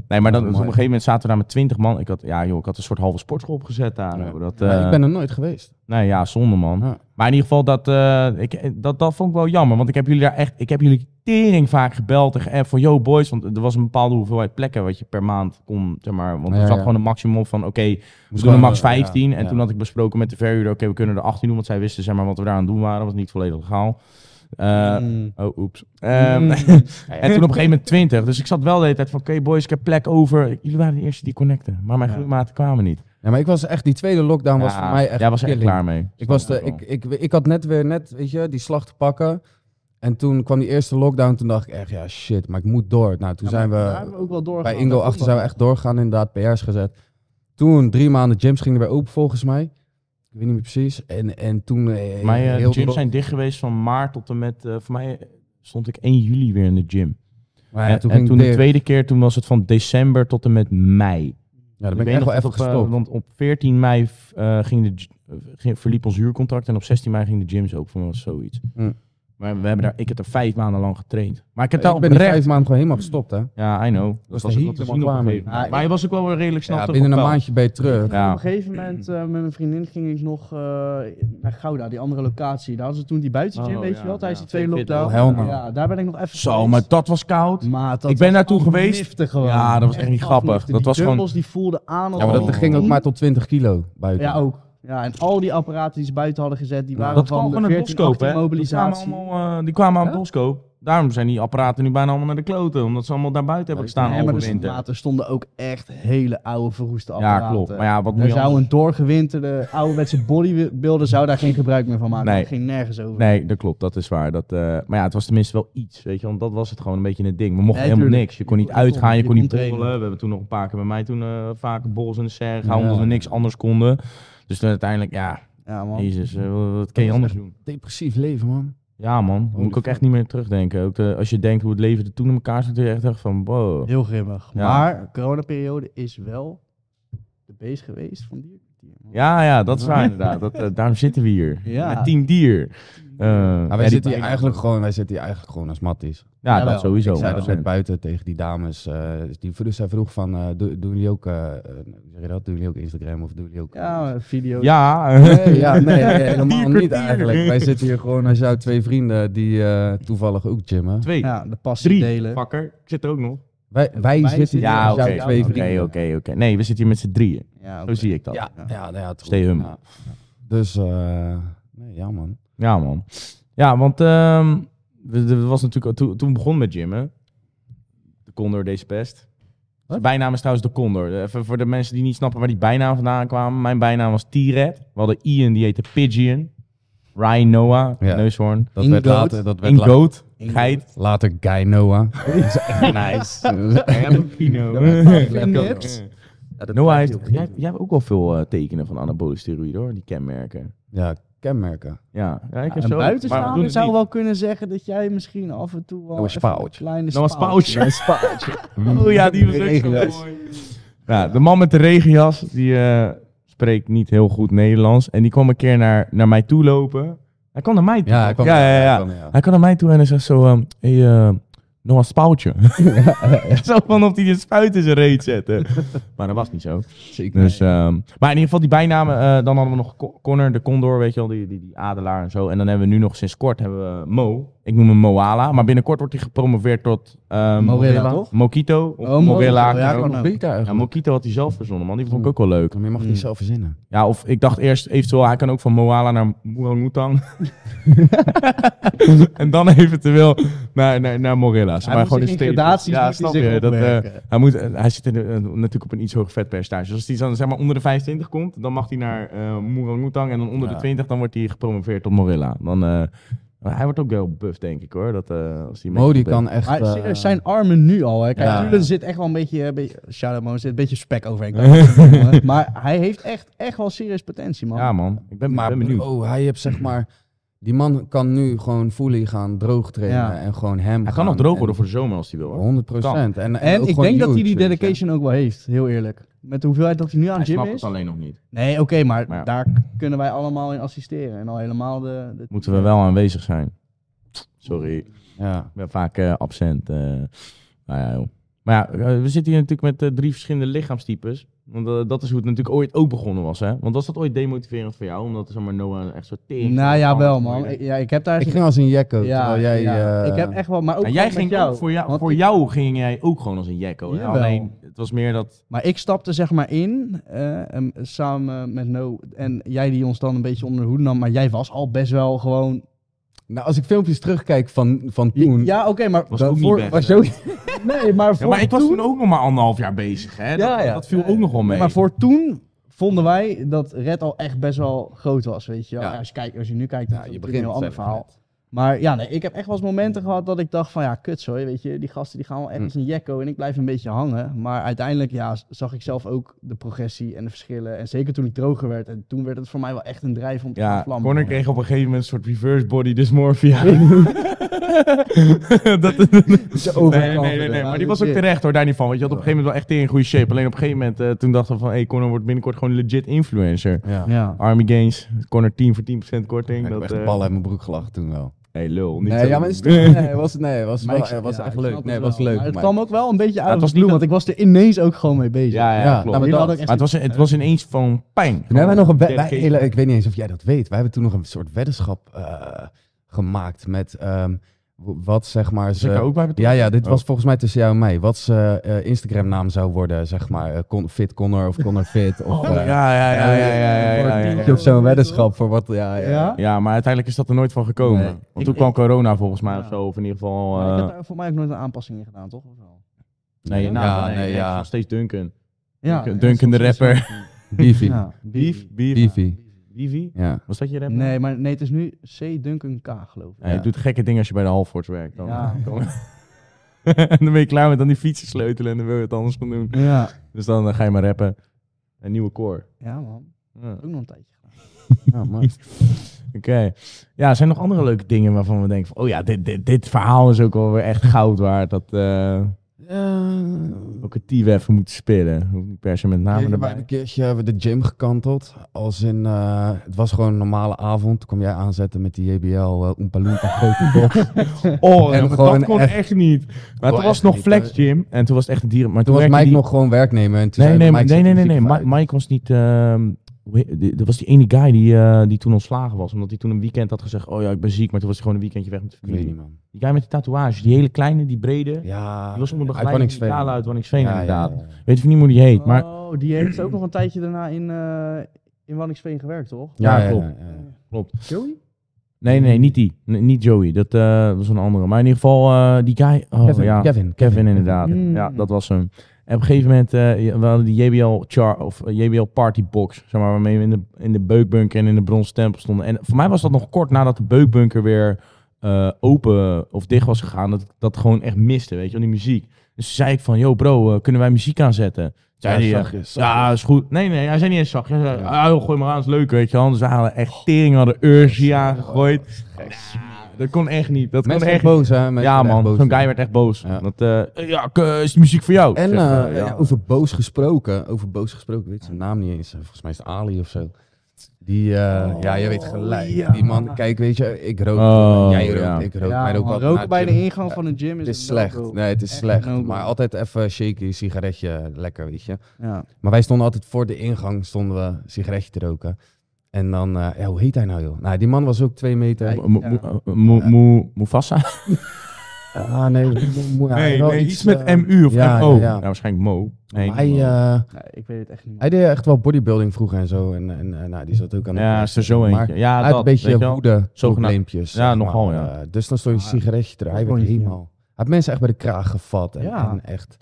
B: maar
A: Oh,
B: dan, op
A: mooi.
B: een gegeven moment zaten we daar met 20 man. Ik had, ja, joh, ik had een soort halve sportschool opgezet daar.
A: Ja.
B: Dat,
A: Maar
B: eh,
A: ik ben er nooit geweest.
B: Nee, ja, zonde man.
A: Ja.
B: Maar in ieder geval, dat, eh, ik, dat, dat vond ik wel jammer. Want ik heb jullie daar echt, ik heb jullie tering vaak gebeld en geappt van, yo boys, want er was een bepaalde hoeveelheid plekken wat je per maand kon, zeg maar. Want er
A: Ja,
B: zat
A: ja.
B: gewoon een maximum op van, oké, we
A: Moest
B: doen er
A: gewoon,
B: max
A: eh,
B: 15.
A: ja,
B: en
A: ja.
B: toen had ik besproken met de verhuurder, oké, we kunnen er 18 doen, want zij wisten, zeg maar, wat we daar aan het doen waren. Dat was niet volledig legaal. Eh,
C: Mm.
B: Oh, oeps. <laughs> Ehm, en toen op een gegeven moment 20. Dus ik zat wel de hele tijd van, oké boys, ik heb plek over. Jullie waren de eerste die connecten, maar mijn
C: Ja.
B: groeimaten kwamen niet.
A: Ja, maar ik was echt, die tweede lockdown was
B: Ja,
A: voor mij echt
B: Jij was er echt
A: killing.
B: klaar mee.
A: Ik, was de,
B: Snap ik
A: ik, ik, ik had net weer net, weet je, die slag te pakken. En toen kwam die eerste lockdown. Toen dacht ik echt, ja shit, maar ik moet door. Nou, toen
C: Ja,
A: zijn
C: maar daar
A: we
C: hebben ook wel
A: bij
C: doorgegaan.
A: Ingo
C: Dat
A: achter
C: komt
A: zijn we
C: wel.
A: echt doorgaan. Inderdaad, PR's gezet. Toen drie maanden gyms gingen weer open volgens mij. Ik weet niet meer precies. En, en toen eh,
B: Voor mij, eh, de
A: heel
B: gyms
A: de-
B: zijn dicht geweest van maart tot en met... eh, voor mij eh, stond ik 1 juli weer in de gym.
A: Maar ja,
B: en
A: toen
B: toen,
A: ging
B: toen
A: het
B: de
A: dicht.
B: tweede keer, toen was het van december tot en met mei.
A: Ja, dan
B: Ik
A: ben ik
B: weet
A: echt wel
B: nog
A: even
B: dat op, eh,
A: gestopt.
B: want op 14 mei eh, ging de, gy- ging- verliep ons huurcontract en op 16 mei ging de gyms open. Voor mij was zoiets.
A: Hm.
B: Maar we hebben daar, ik heb er vijf maanden lang getraind. Maar ik heb daar
A: ik ben die
B: oprecht...
A: vijf maanden gewoon helemaal gestopt, hè?
B: Ja, I know.
A: was
B: ook
A: er
B: wel te
A: helemaal
B: zien op
A: klaar
B: een
A: mee.
B: gegeven moment.
C: Ah,
B: Maar je was ook wel weer redelijk snel
A: Ja,
B: terug
A: binnen een
B: op peil.
A: maandje ben je terug.
B: Ja.
C: Op een gegeven moment eh, met mijn vriendin ging ik nog eh, naar Gouda, die andere locatie. Daar hadden ze toen die buitengym,
B: Oh,
C: weet
B: ja,
C: je wel, tijdens
B: ja.
C: die tweede
B: Fit, fit,
C: lockdown.
A: hoor. Hell no.
C: Ja, daar ben ik nog even
B: Zo,
C: geweest.
B: maar dat was koud.
C: Maat, dat
B: Ik ben
C: was
B: daartoe
C: gewoon
B: geweest.
C: niftig gewoon.
B: Ja, dat was echt niet grappig.
C: afniftig.
B: Dat
C: Die
B: was
C: dumbbells die voelden aan als
A: Ja, maar dat
B: Oh.
A: ging ook maar tot 20 kilo buiten.
C: Ja, oh. ook. Ja, en al die apparaten die ze buiten hadden gezet, die waren
B: Dat kwam
C: van
B: gewoon
C: de
B: uit
C: 14
B: Boskoop, hè? Die kwamen,
C: mobilisatie.
B: allemaal, eh, die kwamen uit
C: Ja?
B: Boskoop. Daarom zijn die apparaten nu bijna allemaal naar de kloten. Omdat ze allemaal daar buiten hebben gestaan
C: Nee, maar
B: al
C: er
B: de
C: stonden-
B: winter.
C: maat, er stonden ook echt hele oude verroeste
B: Ja,
C: apparaten.
B: klopt. Maar ja, wat moet
C: Er
B: je
C: zou
B: anders?
C: een doorgewinterde ouderwetse bodybuilder zou daar geen gebruik meer van maken.
B: Nee.
C: Dat ging nergens over.
B: Nee, dat klopt. Dat is waar. Dat, eh, maar ja, het was tenminste wel iets, weet je. Want dat was het gewoon een beetje het ding. We mochten
C: Nee,
B: helemaal
C: tuurlijk.
B: niks. Je kon
C: Je
B: niet
C: kon- je kon-
B: uitgaan, je
C: je
B: kon niet
C: kon trainen.
B: borrelen. We hebben toen nog een paar keer bij mij toen eh, vaak borrels in de serre gehouden.
A: Ja.
B: Omdat we niks anders konden. Dus toen uiteindelijk, ja,
C: Ja, man.
B: jezus, eh, wat kan je anders doen?
A: Depressief leven, man.
B: Ja man,
A: Holy
B: moet ik ook
A: fuck.
B: echt niet meer terugdenken. Ook de- als je denkt hoe het leven er toen in elkaar zat, dan echt echt van wow.
C: Heel grimmig.
B: Ja.
C: Maar coronaperiode is wel de beest geweest van die.
B: Ja, ja, dat is waar inderdaad. Dat, eh, daarom zitten we hier.
C: Ja.
B: Met team dier. Eh,
A: Maar
B: ja,
A: wij,
B: die-
A: zitten hier eigenlijk gewoon, wij zitten hier eigenlijk gewoon als matties.
B: Ja,
C: Jawel.
B: dat sowieso.
A: Ik zei dat net
B: 100%.
A: buiten tegen die dames. eh, die vroeg, zij vroeg van, eh, do- doen jullie ook, eh, eh, hoe zeg je dat? Doen jullie ook Instagram of doen jullie ook...
C: Ja, video.
B: Ja, <laughs>
A: Nee, ja, nee, eh, helemaal
B: Dierkwartier.
A: niet eigenlijk. Wij zitten hier gewoon als jouw twee vrienden die eh, toevallig ook gymmen.
B: twee,
C: Ja, de passie
B: drie,
C: delen.
B: Pakker, Ik zit er ook nog.
A: Wij, wij
C: Wij
A: zitten
C: zitten
A: hier
B: Ja,
A: als
B: oké,
A: jouw
B: oké,
A: twee
B: oké,
A: vrienden.
B: oké, oké. Nee, we zitten hier met z'n drieën.
C: Ja,
B: Zo
C: oké.
B: zie ik dat. Ja,
A: Ja, ja, nou ja het is
B: Stay
A: goed.
B: hum.
A: Ja. Dus, eh, nee, ja man.
B: man. Ja, want ehm, we- er was natuurlijk, toen, toen we begonnen met gymmen, de Condor deze pest.
A: Wat?
B: Bijnaam is trouwens de Condor. Eh, Even voor de mensen die niet snappen waar die bijnaam vandaan kwamen. Mijn bijnaam was T-Red. We hadden Ian, die heette Pigeon. Ryan Noah,
A: Ja.
B: neushoorn.
A: Dat
C: Ingoat.
A: werd later, dat werd la-
B: Ingoat,
C: Ingoat.
B: geit.
A: later Guy
B: <laughs>
A: Noah.
B: Oh,
A: nice.
B: Noah heeft, jij, hebt- jij hebt ook wel veel eh, tekenen van anabole steroïden hoor, die kenmerken.
A: ja, kenmerken.
B: Ja, ja ik heb zo. maar we
C: Een
B: doen
C: buitenstaander
B: het
C: zou
B: niet.
C: wel kunnen zeggen dat jij misschien af en toe wel
A: Nou, een
C: even
A: spouwtje.
C: kleine
B: Nou, een spouwtje.
C: spouwtje.
B: <laughs> Oh ja, die was ook zo
A: Regenjas.
B: mooi. Ja, de man met de regenjas, die eh, spreekt niet heel goed Nederlands. En die kwam een keer naar, naar mij toe lopen. Hij kwam naar mij toe.
A: Ja, ik kwam-
B: ja, ja, ja.
A: ik kwam, ja.
B: Hij kwam naar mij toe en hij zegt zo... ehm, hey, eh nog een
C: <laughs>
B: spoutje. <laughs> zo van of hij de spuit in zijn reet
C: <laughs>
B: zette. maar dat was niet zo.
A: Zeker.
B: Dus, ehm, maar in ieder geval die bijnamen, eh, dan hadden we nog Co- Connor, de Condor, weet je wel, die, die, die adelaar en zo. En dan hebben we nu nog sinds kort hebben we Mo. Ik noem hem Moala, maar binnenkort wordt hij gepromoveerd tot ehm,
C: Morella, toch?
B: Mokito. Of
C: Oh, Mo-
B: Morella.
C: ja,
B: kan ook.
C: kan ook.
A: Beter
B: Ja,
A: eigenlijk.
B: Mokito had hij zelf verzonnen, man. Die vond ik ook wel leuk.
A: Maar je mag het niet
C: Hmm.
A: zelf verzinnen.
B: Ja, of ik dacht eerst eventueel, hij kan ook van Moala naar
C: <laughs>
B: Muangutang. en dan eventueel naar, naar, naar Morilla's.
C: Hij
B: maar
C: moet
B: gewoon
C: zich
B: in steden.
C: in gradaties moet
B: Ja,
C: hij
B: snap
C: zich
B: je. Dat, eh,
C: opwerken.
B: hij, moet, eh, hij zit in de- eh, natuurlijk op een iets hoger vetpercentage. Dus als hij dan zeg maar onder de 25 komt, dan mag hij naar eh Muangutang. En dan onder de
A: Ja.
B: 20, dan wordt hij gepromoveerd tot Morilla. Dan, eh, hij wordt ook wel buff, denk ik hoor. Dat, eh als hij
A: Mo die
B: meekomt.
A: kan echt...
C: Maar
A: eh,
C: serieus, zijn armen nu al. Hè. Kijk,
A: Ja.
C: Julen zit echt wel een beetje, een beetje shout-out Mo, zit een beetje spek overheen. kan ik wel zeggen, maar hij heeft echt, echt wel serieus potentie, man.
B: Ja man, ik ben, ik
A: Maar
B: ben benieuwd.
A: oh, hij heeft zeg maar... Die man kan nu gewoon fully gaan droog trainen
C: Ja.
A: en gewoon hem
B: Hij kan nog droog worden voor de zomer als hij wil. Hoor.
A: 100 procent. En,
C: en
A: ook
C: ik
A: gewoon
C: denk dat hij die
A: huge, weet je.
C: dedication ook wel heeft, heel eerlijk. Met de hoeveelheid dat hij nu aan
B: Hij
C: het gym
B: snapt
C: is.
B: het alleen nog niet.
C: Nee, oké, maar,
B: Maar ja.
C: daar kunnen wij allemaal in assisteren. En al helemaal de... de-
B: Moeten we wel aanwezig zijn. Sorry, ik
A: Ja.
B: ben vaak eh, absent. eh. nou ja, joh. Maar ja, eh, we zitten hier natuurlijk met eh, drie verschillende lichaamstypes. Want eh, dat is hoe het natuurlijk ooit ook begonnen was, hè? Want was dat ooit demotiverend voor jou? Omdat zeg maar, Noah echt zo tering...
C: Nou ja, wel man. Ik,
B: Nou,
C: ja, ik heb daar...
A: Ik ging als een jekko, terwijl jij...
C: ja.
A: eh,
C: ik heb echt wel... Maar ook
B: jij
C: met
B: ging
C: jou.
B: ook voor jou,
C: Want
B: voor
C: ik-
B: jou ging jij ook gewoon als een jekko. hè?
C: Jawel.
B: Alleen, het was meer dat...
C: Maar ik stapte zeg maar in, eh, em, samen met No en jij die ons dan een beetje onder de hoed nam. Maar jij was al best wel gewoon...
A: Nou, als ik filmpjes terugkijk van, van
C: Je-
A: toen...
C: Ja, oké, maar...
B: Was ook niet
C: voor,
B: best,
C: was
B: hè?
C: ook- <laughs> nee, maar voor
B: Ja, maar ik was
C: toen...
B: toen ook nog maar anderhalf jaar bezig, hè? Dat,
A: Ja, ja.
B: dat viel ook nog wel mee.
C: Maar voor toen vonden wij dat Red al echt best wel groot was, weet je wel.
A: Ja.
C: Als, je kijkt, als je nu kijkt,
A: Ja,
C: dan is
A: je
C: het
A: begint
C: natuurlijk een heel ander
A: verder
C: verhaal. Maar ja, nee, ik heb echt wel eens momenten gehad dat ik dacht van ja, kut zo, weet je. Die gasten die gaan wel ergens in jekko en ik blijf een beetje hangen. Maar uiteindelijk ja, z- zag ik zelf ook de progressie en de verschillen. En zeker toen ik droger werd. En toen werd het voor mij wel echt een drijf om te gaan
B: Ja,
C: vlammen.
B: Connor kreeg op een gegeven moment een soort reverse body
C: <laughs>
B: dysmorphia. <laughs> dat, nee, nee, nee, nee, maar die was ook terecht hoor, daar niet van. Want je had op een gegeven moment wel echt in goede shape. Alleen op een gegeven moment, eh, toen dachten we van, hey, Connor wordt binnenkort gewoon legit influencer.
A: Ja.
C: Ja.
B: Army Gains, Connor 10 voor 10% korting.
A: Ik heb
B: dat,
A: echt
B: eh,
A: de ballen uit mijn broek gelachen toen wel.
B: hey, lul. Niet
A: Nee,
B: zo
A: ja, maar het is
B: doen.
A: toch- nee, was, nee, was,
C: Maar
A: wel-
C: ik- ja,
A: was echt
C: ik snap
A: leuk.
C: het
A: Nee, was
C: wel.
A: leuk.
C: Maar het
A: maar-
C: kwam ook wel een beetje
B: het
C: uit
B: was
C: was
B: niet
C: niet want ik was er ineens ook gewoon mee bezig.
B: Ja,
A: Ja,
B: ja, klopt.
A: nou,
B: maar
A: maar
C: Jullie
A: dat-
C: hadden ook echt
B: het was, het was ineens van pijn.
A: Toen hebben wij nog een we- wij,
B: Dedication.
A: hele- ik weet niet eens of jij dat weet. Wij hebben toen nog een soort weddenschap eh, gemaakt met ehm, w- wat zeg maar.
B: Zit Dus ik daar
A: Ze,
B: ook bij
A: ja,
B: betrokken?
A: ja, dit
B: Oh.
A: was volgens mij tussen jou en mij. Wat zijn Instagram naam zou worden, zeg maar. eh, Con- fit Connor of
B: <laughs>
A: Connor Fit. Of,
B: Oh,
A: eh,
B: ja, ja, ja, ja, ja, ja, ja, ja, ja.
A: tientje Of zo'n weddenschap voor wat. Ja, ja.
C: Ja?
B: Ja, maar uiteindelijk is dat er nooit van gekomen.
A: Nee.
B: Want
C: Ik-
B: toen kwam corona volgens mij
C: Ja.
B: of zo. Of in ieder geval...
C: Maar ik
B: eh,
C: heb daar voor mij ook nooit een aanpassing in gedaan, toch? Of wel?
B: Nee, je naam,
A: Ja,
B: nee,
A: nee,
B: nee,
A: ja.
B: het is nog steeds Duncan.
C: Ja,
B: Duncan, Duncan de rapper.
A: Beefy.
C: Ja,
B: Beef, beef,
A: Beefy.
B: Beefy.
A: Ja.
B: Was dat je rapper?
C: Nee, maar nee, het is nu C. Duncan K, geloof ik.
B: Hij
A: Ja.
B: doet gekke dingen als je bij de Halfords werkt. Dan,
C: Ja.
B: <laughs> dan- en dan ben je klaar met aan die fietsen sleutelen en dan wil je het anders gaan doen.
C: Ja,
B: Dus dan eh, ga je maar rappen. Een nieuwe core.
C: ja man.
B: Ja. <laughs>
C: Ook nog een tijdje.
A: <laughs> Ja, maar-
B: Oké. Ja, zijn nog andere leuke dingen waarvan we denken van... Oh ja, dit, dit, dit verhaal is ook wel weer echt goud waard. Dat eh
A: Eh,
B: ook het team even moeten spelen. Hoeft niet per se met
A: Ja,
B: name
A: maar
B: erbij.
A: een keertje hebben we de gym gekanteld. Als in, eh, het was gewoon een normale avond. Toen kwam jij aanzetten met die JBL eh Oompa Loompa
B: <laughs>
A: grote box.
B: Oh,
A: En
B: ja, maar
A: gewoon
B: dat kon
A: echt-
B: echt, niet. Maar
A: Kon
B: toen was
A: echt
B: het nog
A: niet,
B: Flex
A: eh.
B: Gym en toen was het echt een dieren... Maar
A: Toen was
B: werkte
A: Mike
B: die-
A: nog gewoon werknemer. En toen
B: Nee,
A: zei hij,
B: nee, nee,
A: Mike zet
B: nee,
A: de
B: nee, nee.
A: muziek
B: Mi-
A: uit.
B: Mike was niet. ehm, hoe he- die- dat was die ene guy die, eh, die toen ontslagen was. Omdat hij toen een weekend had gezegd: Oh ja, ik ben ziek. Maar toen was hij gewoon een weekendje weg met de
A: Ik weet niet,
B: familie.
A: man.
B: Die guy met die tatoeage, die hele kleine, die brede.
A: Ja.
B: die was onder de
A: uit
B: geleide
A: Wanningsveen.
B: digitale uit Wanningsveen,
A: Ja, ja,
B: inderdaad.
A: ja, ja.
B: Weet even niet hoe die heet. Maar
C: Oh, die heeft ook nog een tijdje daarna in, eh in Wanningsveen gewerkt, toch?
A: Ja,
B: Ja,
A: ja,
B: klopt.
A: ja, ja.
B: klopt.
C: Joey?
B: Nee, nee, niet die. N- niet Joey. Dat eh, was een andere. Maar in ieder geval, eh, die guy. Oh,
A: Kevin,
B: ja. Kevin,
A: Kevin,
B: inderdaad.
C: Mm.
B: Ja, dat was hem. En op een gegeven moment, eh, ja, we hadden die JBL, char, of, eh, JBL Party Box, zeg maar, waarmee we in de, in de beukbunker en in de bronzen tempel stonden. En voor mij was dat nog kort nadat de beukbunker weer eh, open of dicht was gegaan, dat ik dat gewoon echt miste, weet je wel, die muziek. Dus toen zei ik van, yo bro, eh, kunnen wij muziek aanzetten? Zei die, eh,
A: zachtjes,
B: ja, is goed. Nee, nee, hij zei niet eens zacht. Hij zei,
A: Ja.
B: ah, joh, gooi maar aan, is leuk, weet je wel. Dus we hadden echt tering, hadden Ursie aangegooid. Nou, dat kon echt niet. Dat kon
A: Mensen
B: echt
A: echt
B: niet.
A: boos, hè? Mensen
B: Ja
A: werden echt
B: man,
A: boos.
B: zo'n guy werd echt boos.
A: Ja.
B: Dat, eh, ja, k- eh, is die muziek voor jou?
A: En
B: Ik zeg,
A: eh,
B: eh,
A: ja,
B: ja.
A: over boos gesproken, over boos gesproken, ik weet zijn naam niet eens. eh, Volgens mij is het Ali of zo. Die, eh, ja, je weet gelijk. Die man, kijk, weet je, ik rook,
B: Oh,
A: jij rookt,
B: ja.
A: ik rook.
C: Ja,
A: wij
C: man,
A: roken wat
C: roken
A: na
C: bij de
A: gym.
C: ingang van een gym is,
A: Het is
C: een
A: slecht.
C: no-go.
A: Nee, het is
C: Echt
A: slecht.
C: no-go.
A: Maar altijd even shaky, sigaretje, lekker, weet je.
C: Ja.
A: Maar wij stonden altijd voor de ingang, stonden we een sigaretje te roken. En dan, eh, ja, hoe heet hij nou, joh? Nou, die man was ook twee meter.
C: Hij-
B: Mo- mo- mo- mo- mo- Mufasa?
A: Ah,
B: <laughs>
A: nee.
B: Nee, nee, iets met MU of
A: eh, ja,
B: MO.
A: ja,
B: Ja,
A: ja.
B: waarschijnlijk Mo. Nee,
A: Hij,
B: Mo.
A: eh,
C: Nee, ik weet het echt niet.
A: hij deed echt wel bodybuilding vroeger en zo. En, en eh, nou, die zat ook aan de
B: ja,
A: pers.
B: is er zo
A: Maar
B: eentje. Ja,
A: Hij
B: dat,
A: had een
B: weet je
A: beetje eh,
B: wel.
A: woede probleempjes.
B: Ja, nogal, ja.
A: dus dan stond je
C: Ah,
A: sigaretje er. Hij
C: dat kon
A: werd
C: je niet,
A: helemaal... Hij heeft mensen echt bij de kraag gevat. En,
C: Ja.
A: en echt...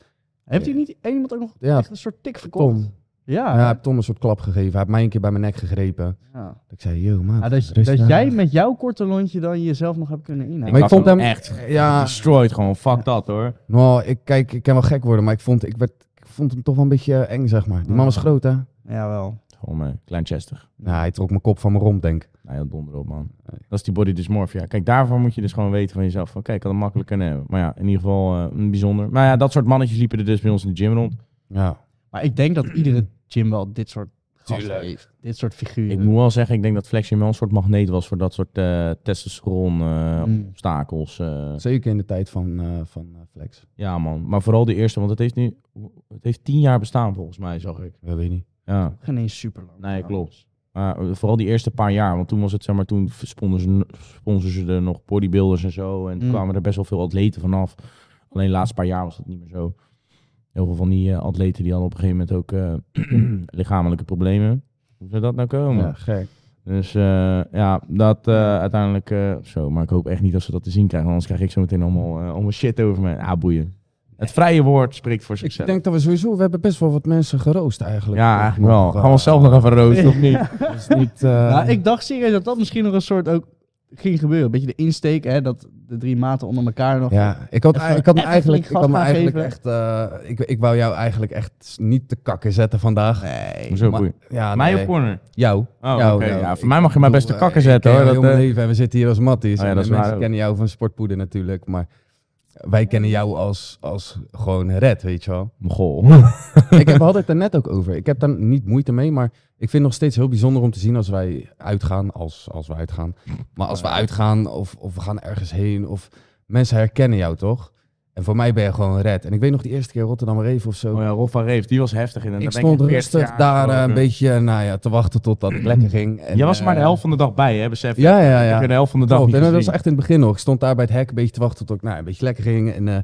C: Heeft hij niet één iemand ook nog
A: Ja,
C: echt een soort tik verkocht?
B: Ah,
A: Tom.
C: Ja.
A: Ja, hij heeft Tom een soort klap gegeven. Hij heeft mij een keer bij mijn nek gegrepen.
C: ja.
A: Ik zei, yo man,
C: Ah, dat,
A: rustig
C: dat
A: aan.
C: jij met jouw korte lontje dan jezelf nog hebt kunnen inhouden.
A: Maar ik
B: had
A: vond hem...
B: echt
A: Ja,
B: destroyed gewoon. Fuck dat hoor.
A: nou, ik, kijk, ik kan wel gek worden, maar ik vond, ik, werd, ik vond hem toch wel een beetje eh, eng, zeg maar. Die man was groot, hè?
C: Jawel.
B: Gewoon eh, klein chester.
A: Nou, hij trok mijn kop van mijn rond, denk ik.
B: Nee, dat donder op man. Dat is die body dysmorphia. Kijk, daarvoor moet je dus gewoon weten van jezelf. Van, Oké, ik had het makkelijk kunnen hebben. Maar ja, in ieder geval eh, een bijzonder. Maar ja, dat soort mannetjes liepen er dus bij ons in de gym rond.
A: Ja.
C: Maar
B: <clears throat>
C: ik denk dat iedere gym wel dit soort gasten
A: Tuurlijk.
C: heeft. Dit soort figuren.
B: Ik moet wel zeggen, ik denk dat Flexion wel een soort magneet was voor dat soort eh, testosteron eh,
C: Mm.
B: obstakels. eh.
A: Zeker in de tijd van, eh, van eh, Flex.
B: ja man, maar vooral die eerste, want het heeft nu het heeft tien jaar bestaan volgens mij, zag ik.
A: Dat weet ik niet.
B: Ja,
C: Geen eens super lang.
B: nee, klopt. Maar eh, vooral die eerste paar jaar, want toen was het zeg maar, toen sponsorden ze, sponsorden ze er nog bodybuilders en zo. En toen
C: Mm.
B: kwamen er best wel veel atleten vanaf. Alleen de laatste paar jaar was dat niet meer zo. Heel veel van die eh, atleten die hadden op een gegeven moment ook eh, <clears throat> lichamelijke problemen. Hoe zou dat nou komen?
A: Ja, gek.
B: Dus eh, ja, dat eh, uiteindelijk eh, zo. Maar ik hoop echt niet dat ze dat te zien krijgen. want Anders krijg ik zo meteen allemaal, eh, allemaal shit over me. Ah, boeien. Het vrije woord spreekt voor
A: Ik
B: zichzelf.
A: denk dat we sowieso, we hebben best wel wat mensen geroost eigenlijk.
B: ja, eigenlijk wel. Gaan we
A: eh,
B: onszelf nog even roosten of niet?
A: Dat is niet... eh,
B: Ehm.
C: Nou, ik dacht serieus dat dat misschien nog een soort ook ging gebeuren. Een beetje de insteek, hè, dat de drie maten onder elkaar nog...
A: Ja, ik had, ik had me
C: even
A: eigenlijk, ik
C: flink
A: had me
C: gas gaan
A: eigenlijk
C: geven.
A: echt, eh, ik, ik wou jou eigenlijk echt niet te kakken zetten vandaag.
C: Nee.
B: Hoezo
A: maar-
B: boeien?
A: <laughs> Ja,
B: Mij
A: nee.
B: op corner?
A: Jou.
B: Oh,
A: Jou,
B: oké.
A: jou.
B: Ja, voor
A: Ik
B: mij mag je mij best de
A: bedoel,
B: kakken
A: eh,
B: zetten
A: ik
B: hoor.
A: ken
B: Dat,
A: jou heel
B: eh,
A: mijn leven en we zitten hier als Matties.
B: Oh ja,
A: en
B: dat
A: de
B: is waar
A: mensen
B: ook.
A: kennen jou van Sportpoeder natuurlijk, maar wij kennen jou als, als gewoon red, weet je
B: <laughs>
A: wel.
B: Mogol.
A: <laughs> ik heb, we hadden het er net ook over. Ik heb daar niet moeite mee, maar ik vind het nog steeds heel bijzonder om te zien als wij uitgaan, als, als we uitgaan. Maar als we uitgaan of, of we gaan ergens heen of mensen herkennen jou toch? En voor mij ben je gewoon red. En ik weet nog die eerste keer Rotterdam Reef of zo.
B: Oh ja, Rolf van Reef, die was heftig. In.
A: Ik stond rustig daar eh, een beetje nou ja, te wachten totdat ik lekker ging. En,
B: Jij was er maar de
A: eh,
B: helft van de dag bij, hè? Besef.
A: Ja, ja,
B: Ik
A: ja.
B: heb je de helft van de dag
A: Klopt,
B: niet
A: en Oh, dat was
B: gezien.
A: echt in het begin nog. Ik stond daar bij het hek een beetje te wachten tot ik nou, een beetje lekker ging. En eh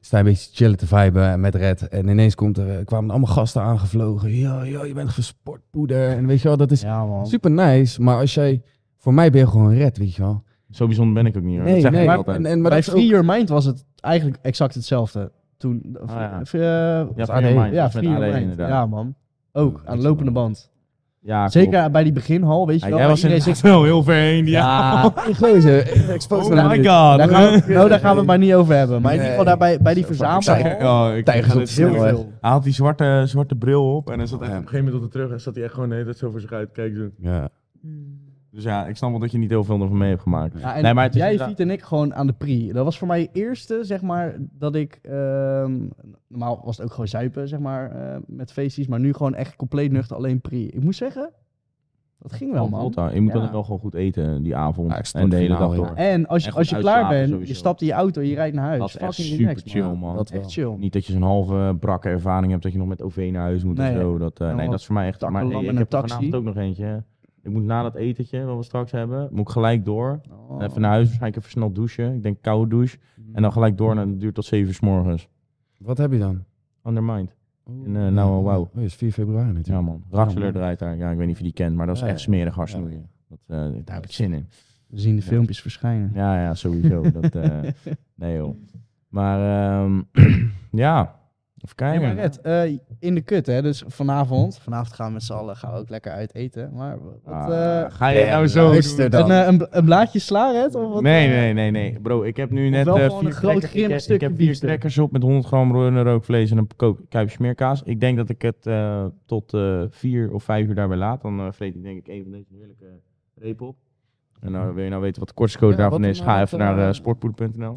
A: sta een beetje te chillen te viben eh, met Red. En ineens komt er, eh, kwamen allemaal gasten aangevlogen. Yo, yo, je bent gesportpoeder. En weet je wel, dat is
C: Ja, man.
A: super nice. Maar als jij... Voor mij ben je gewoon Red, weet je wel.
B: Zo bijzonder ben ik ook niet hoor. dat zeg ik
A: maar,
B: altijd.
A: en, en, maar
C: Bij
A: dat is ook-
C: Free Your Mind was het eigenlijk exact hetzelfde. Toen...
B: Ah, ja.
C: eh, ja,
B: Ja, Free
A: AD.
B: Your Mind.
C: ja,
B: dat is
C: Free
B: met
C: Your
B: AD
C: Mind.
B: inderdaad.
C: Ja, man. Ook, aan de lopende band.
B: Ja, klopt.
C: Zeker bij die beginhal, weet je
B: Ja,
C: wel.
B: jij was Ah.
C: waar iedereen
B: inderdaad <laughs> wel heel ver heen. Ja.
C: <laughs>
A: Ik gozer, ik eh, expose me
B: Oh my
A: nu.
B: god.
C: Daar gaan we, nou, daar gaan we het maar niet over hebben. Maar in ieder geval
A: Nee.
C: daarbij bij die
A: Zo, fuck, ik
C: verzameling.
A: zei-
B: Oh, ik
A: Tijgers
B: ga
A: op
B: dit
A: de snelweg.
B: snel, hè.
C: veel.
B: Hij had die zwarte, zwarte bril op en dan zat hij
A: Ja.
B: op een gegeven moment op de terug en zat hij echt gewoon de hele tijd zo voor zich uit te kijken. zo.
A: Ja.
B: Dus ja, ik snap wel dat je niet heel veel ervan mee hebt gemaakt.
C: Ja, en
B: Nee, maar het is
C: jij,
B: inderdaad-
C: Viet en ik gewoon aan de pri. Dat was voor mij eerste, zeg maar, dat ik... ehm, normaal was het ook gewoon zuipen, zeg maar, eh, met feestjes. Maar nu gewoon echt compleet nuchter, alleen pri. Ik moet zeggen, dat ging wel,
B: Wel,
C: man.
B: man. Je moet
C: Ja.
B: dan wel gewoon goed eten die avond
A: Ja, ik stond
B: en de hele
A: finaal,
B: dag
A: ja.
B: door.
C: En als je,
B: En goed
C: als je klaar
B: uitslapen
C: bent,
B: sowieso.
C: je stapt in je auto, je rijdt naar huis.
B: Dat is echt
C: Fucking
B: super
C: relaxed,
B: chill, man.
A: Dat wel.
C: Echt chill.
B: Niet dat je zo'n halve brakke ervaring hebt dat je nog met OV naar huis moet en
C: Nee.
B: zo. Dat, eh,
C: En
B: nee,
C: wat
B: dat is voor mij echt... Maar
C: takkenlam
B: hey, ik
C: en een
B: heb er
C: taxi.
B: vanavond ook nog eentje. hè. Ik moet na dat etentje wat we straks hebben, moet ik gelijk door.
C: Oh.
B: Even naar huis, waarschijnlijk even snel douchen. Ik denk koude douche. En dan gelijk door en dat duurt tot 7 uur s morgens.
A: Wat heb je dan?
B: Under mind. En, eh, nou, eh, wauw.
A: Oh, het is 4 februari natuurlijk.
B: Ja man,
A: Ja,
B: Raxler
A: man.
B: eruit daar. Ja, ik weet niet of je die kent, maar dat is
A: Ja,
B: echt
A: ja.
B: smerig harsnoeien. Dat, eh, daar heb ik zin in.
C: We zien de
B: Ja.
C: filmpjes verschijnen. <laughs>
B: Ja, ja, sowieso. Dat, eh, nee joh. Maar ehm, <clears throat> ja, even
C: Hey,
B: kijken.
C: maar Red, eh, in de kut, hè? Dus vanavond. Vanavond gaan we met z'n allen gaan we ook lekker uit eten. Maar wat,
B: Ah,
C: eh,
B: ga je nou zo
A: luister
B: doen?
A: dan.
C: een, eh, een, bl- een blaadje sla, Red? Of wat? eh,
B: Nee, nee, nee, nee. Bro, ik heb nu net
C: wel
B: eh,
C: gewoon een
B: vier
C: groot
B: trekkers-
C: grimp
B: ik heb- Ik
C: stukje
B: heb vier
C: biefstuk.
B: trekkers op met 100 gram ro- rookvlees en een ko- kuipje smeerkaas. Ik denk dat ik het eh, tot eh, vier of vijf uur daarbij laat. Dan eh vreet ik denk ik een van deze heerlijke repen op. En nou, wil je nou weten wat de kortste code
A: Ja,
B: daarvan
A: wat
B: is?
A: dan,
B: Ga
A: eh,
B: even
A: wat dan,
B: naar eh,
A: eh,
B: sportpoeder.nl.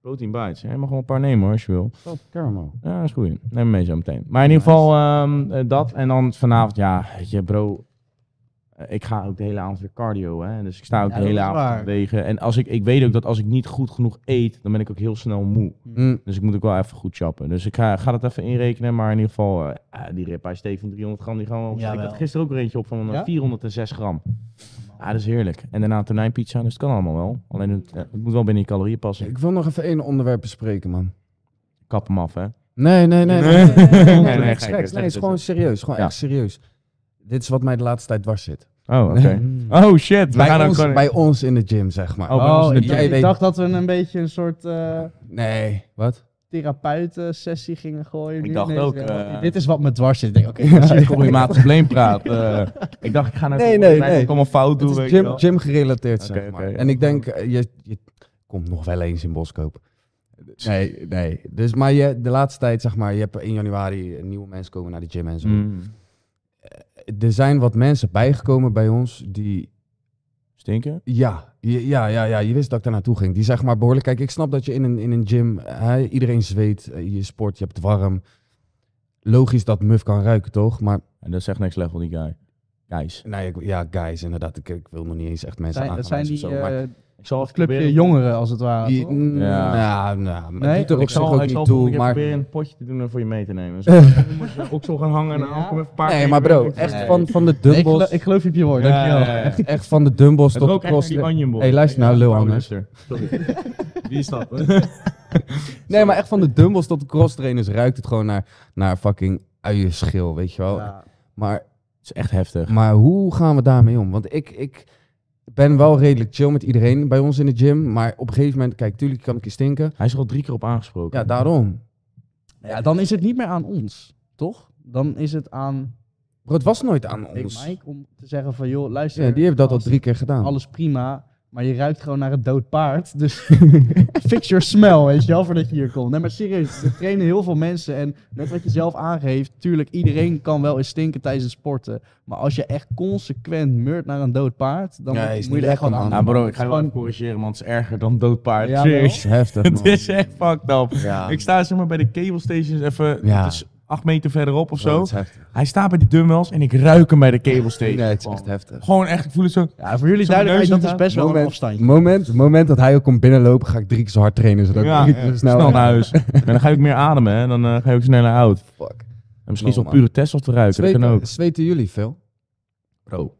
B: Protein bites. hè. Je mag wel een paar nemen hoor, als je wil.
A: Oh, caramel.
B: Ja, dat is goed. Neem me mee zo meteen. Maar in ieder geval ehm, eh, dat. En dan vanavond, ja, weet je bro. eh, Ik ga ook de hele avond weer cardio, hè. Dus ik sta ook
C: Ja,
B: de
C: dat
B: hele
C: is
B: avond
C: waar.
B: te bewegen. En als ik, ik weet ook dat als ik niet goed genoeg eet, dan ben ik ook heel snel moe.
A: Mm,
B: Dus ik moet ook wel even goed chappen. Dus ik ga, ga dat even inrekenen. Maar in ieder geval, eh, ah, die rib steek van 300 gram, die gaan we op. Ik
C: Jawel.
B: had gisteren ook er eentje op van eh,
C: Ja?
B: 406 gram. Ah, dat is heerlijk. En daarna een tonijnpizza, dus het kan allemaal wel. Alleen het, eh, het moet wel binnen je calorieën passen.
A: Ik wil nog even één onderwerp bespreken, man.
B: Kap hem af, hè.
A: Nee, nee, nee.
B: Nee.
A: Nee, nee, nee, nee, nee,
B: Nee, nee,
A: nee,
B: nee,
A: niks
B: gek,
A: geks.
B: dat
A: Nee, het is
B: is-
A: gewoon serieus. Gewoon
B: Ja.
A: echt serieus. Dit is wat mij de laatste tijd dwars zit.
B: Oh, oké.
C: <laughs>
B: Oh, shit. We gaan
A: Bij
B: ook
A: ons,
B: gewoon-
A: bij ons in de gym, zeg maar.
B: Oh, bij ons in de
C: ik,
B: gym.
A: Jij
C: ik
A: weet-
C: dacht dat we een beetje een soort eh
A: Nee, wat?
C: therapeuten-sessie gingen gooien.
B: Ik
C: Nu
B: dacht
C: ineens
B: ook,
C: weer,
B: eh,
C: dit is wat me dwars zit. Ik denk, Oké,
B: <laughs> Ja, ik kom in maat
A: <laughs>
B: probleem praat. eh, ik dacht, ik ga naar
A: Nee, nee, nee.
B: Ik kom een fout doen.
A: Het is
B: weet je
A: gym,
B: wel.
A: gym gerelateerd,
B: Oké,
A: zeg maar.
B: oké, ja.
A: En ik denk, eh, je, je komt nog wel eens in Boskoop. Nee, nee. Dus, maar je, de laatste tijd, zeg maar, je hebt in januari eh, nieuwe mensen komen naar de gym en zo.
B: Mm.
A: Er zijn wat mensen bijgekomen bij ons die
B: Stinken?
A: Ja, je- ja, ja, ja, je wist dat ik daar naartoe ging. Die zeg maar behoorlijk. Kijk, ik snap dat je in een, in een gym, hè, iedereen zweet, eh, je sport, je hebt het warm. Logisch dat muf kan ruiken, toch? Maar
B: En dat zegt niks slecht van die guy. Guys.
A: nee, ik- ja, guys, inderdaad. Ik, ik wil nog niet eens echt mensen
C: zijn,
A: aan
C: dat zijn die
A: zo, maar,
C: eh,
B: Ik zal even
C: clubje
B: proberen-
C: jongeren, als het ware.
A: Die-
C: toch?
A: mm,
B: Ja.
A: nou, nou, maar
C: Nee,
A: doet er
B: Ik
A: op zich
B: zal,
A: ook
B: ik zal
A: niet
B: volgende
A: toe.
B: keer
A: Maar,
B: proberen een potje te doen en voor je mee te
A: <laughs>
B: nemen. Zo, dan moet je ook zo gaan hangen en dan
C: Ja.
B: hou ik hem even een paar
A: nee,
B: keer
A: maar bro,
B: weer.
A: echt
B: Nee.
A: van, van de
C: Nee, ik, gelo-
A: dumbbells, <laughs>
C: ik geloof je op je woord,
B: Ja, ja,
C: dankjewel.
B: ja.
A: echt van de dumbbells
B: Het
A: tot de
B: rook echt naar
A: cross.
B: die onion boy.
A: Hey, luister nou,
B: Ja,
A: lul,
B: Paul
A: anders.
B: Lester. <laughs> Sorry. Wie is dat?
A: Nee, maar echt van de dumbbells tot de cross trainers ruikt het gewoon naar, naar fucking uienschil, weet je wel.
C: <laughs> Ja.
A: Maar
B: Het is echt heftig.
A: Maar hoe gaan we daarmee om? Want ik, ik ben wel redelijk chill met iedereen bij ons in de gym. Maar op een gegeven moment, kijk, tuurlijk kan ik je stinken.
B: Hij is er al drie keer op aangesproken.
A: Ja, daarom.
C: Ja, dan is het niet meer aan ons, toch? Dan is het aan
A: Bro, het was nooit aan
C: Big
B: dus-
A: ons.
C: Mike om te zeggen van, joh, luister.
A: Ja, die heeft dat al
C: alles-
A: drie keer gedaan.
C: Alles prima, maar je ruikt gewoon naar het dood paard.
A: <laughs>
C: Dus fix your smell, weet je wel, voordat je hier komt. Nee, maar serieus, er trainen heel veel mensen. En net wat je zelf aangeeft, tuurlijk, iedereen kan wel eens stinken tijdens het sporten. Maar als je echt consequent meurt naar een dood paard, dan
A: Ja, is
C: moet
A: niet
C: je er echt
A: lekker,
C: gewoon
A: man.
B: Nou
C: aan.
B: bro, ik ga je wel
C: Gewoon-
B: even corrigeren, want het is erger dan doodpaard.
C: Ja,
B: Serieus.
A: is heftig,
B: <laughs> Het
A: man.
B: is echt fucked up.
A: Ja.
B: Ik sta zeg maar bij de cable stations even
A: Ja.
B: het is acht meter verderop of
A: Bro,
B: zo.
A: het is heftig.
B: Hij staat bij die dumbbells en ik ruik hem bij de cable station.
A: Nee, het is
B: Gewoon.
A: echt heftig.
B: Gewoon echt, ik voel het zo.
C: Ja, voor jullie
B: Zo'n
C: duidelijkheid,
B: neus
C: dat is
B: inderdaad.
C: best wel een
A: Moment.
C: afstandje.
A: Moment, moment dat hij ook komt binnenlopen, ga ik drie keer zo hard trainen. Zodat <laughs> ik
B: Ja,
A: niet zo snel...
B: snel naar huis. en dan ga ik meer ademen, hè. dan eh, ga je ook sneller oud.
A: Fuck.
B: En misschien is
A: No,
B: het
A: man.
B: pure test of te ruiken, dat kan ook.
A: Zweten, zweten jullie veel?
B: Bro,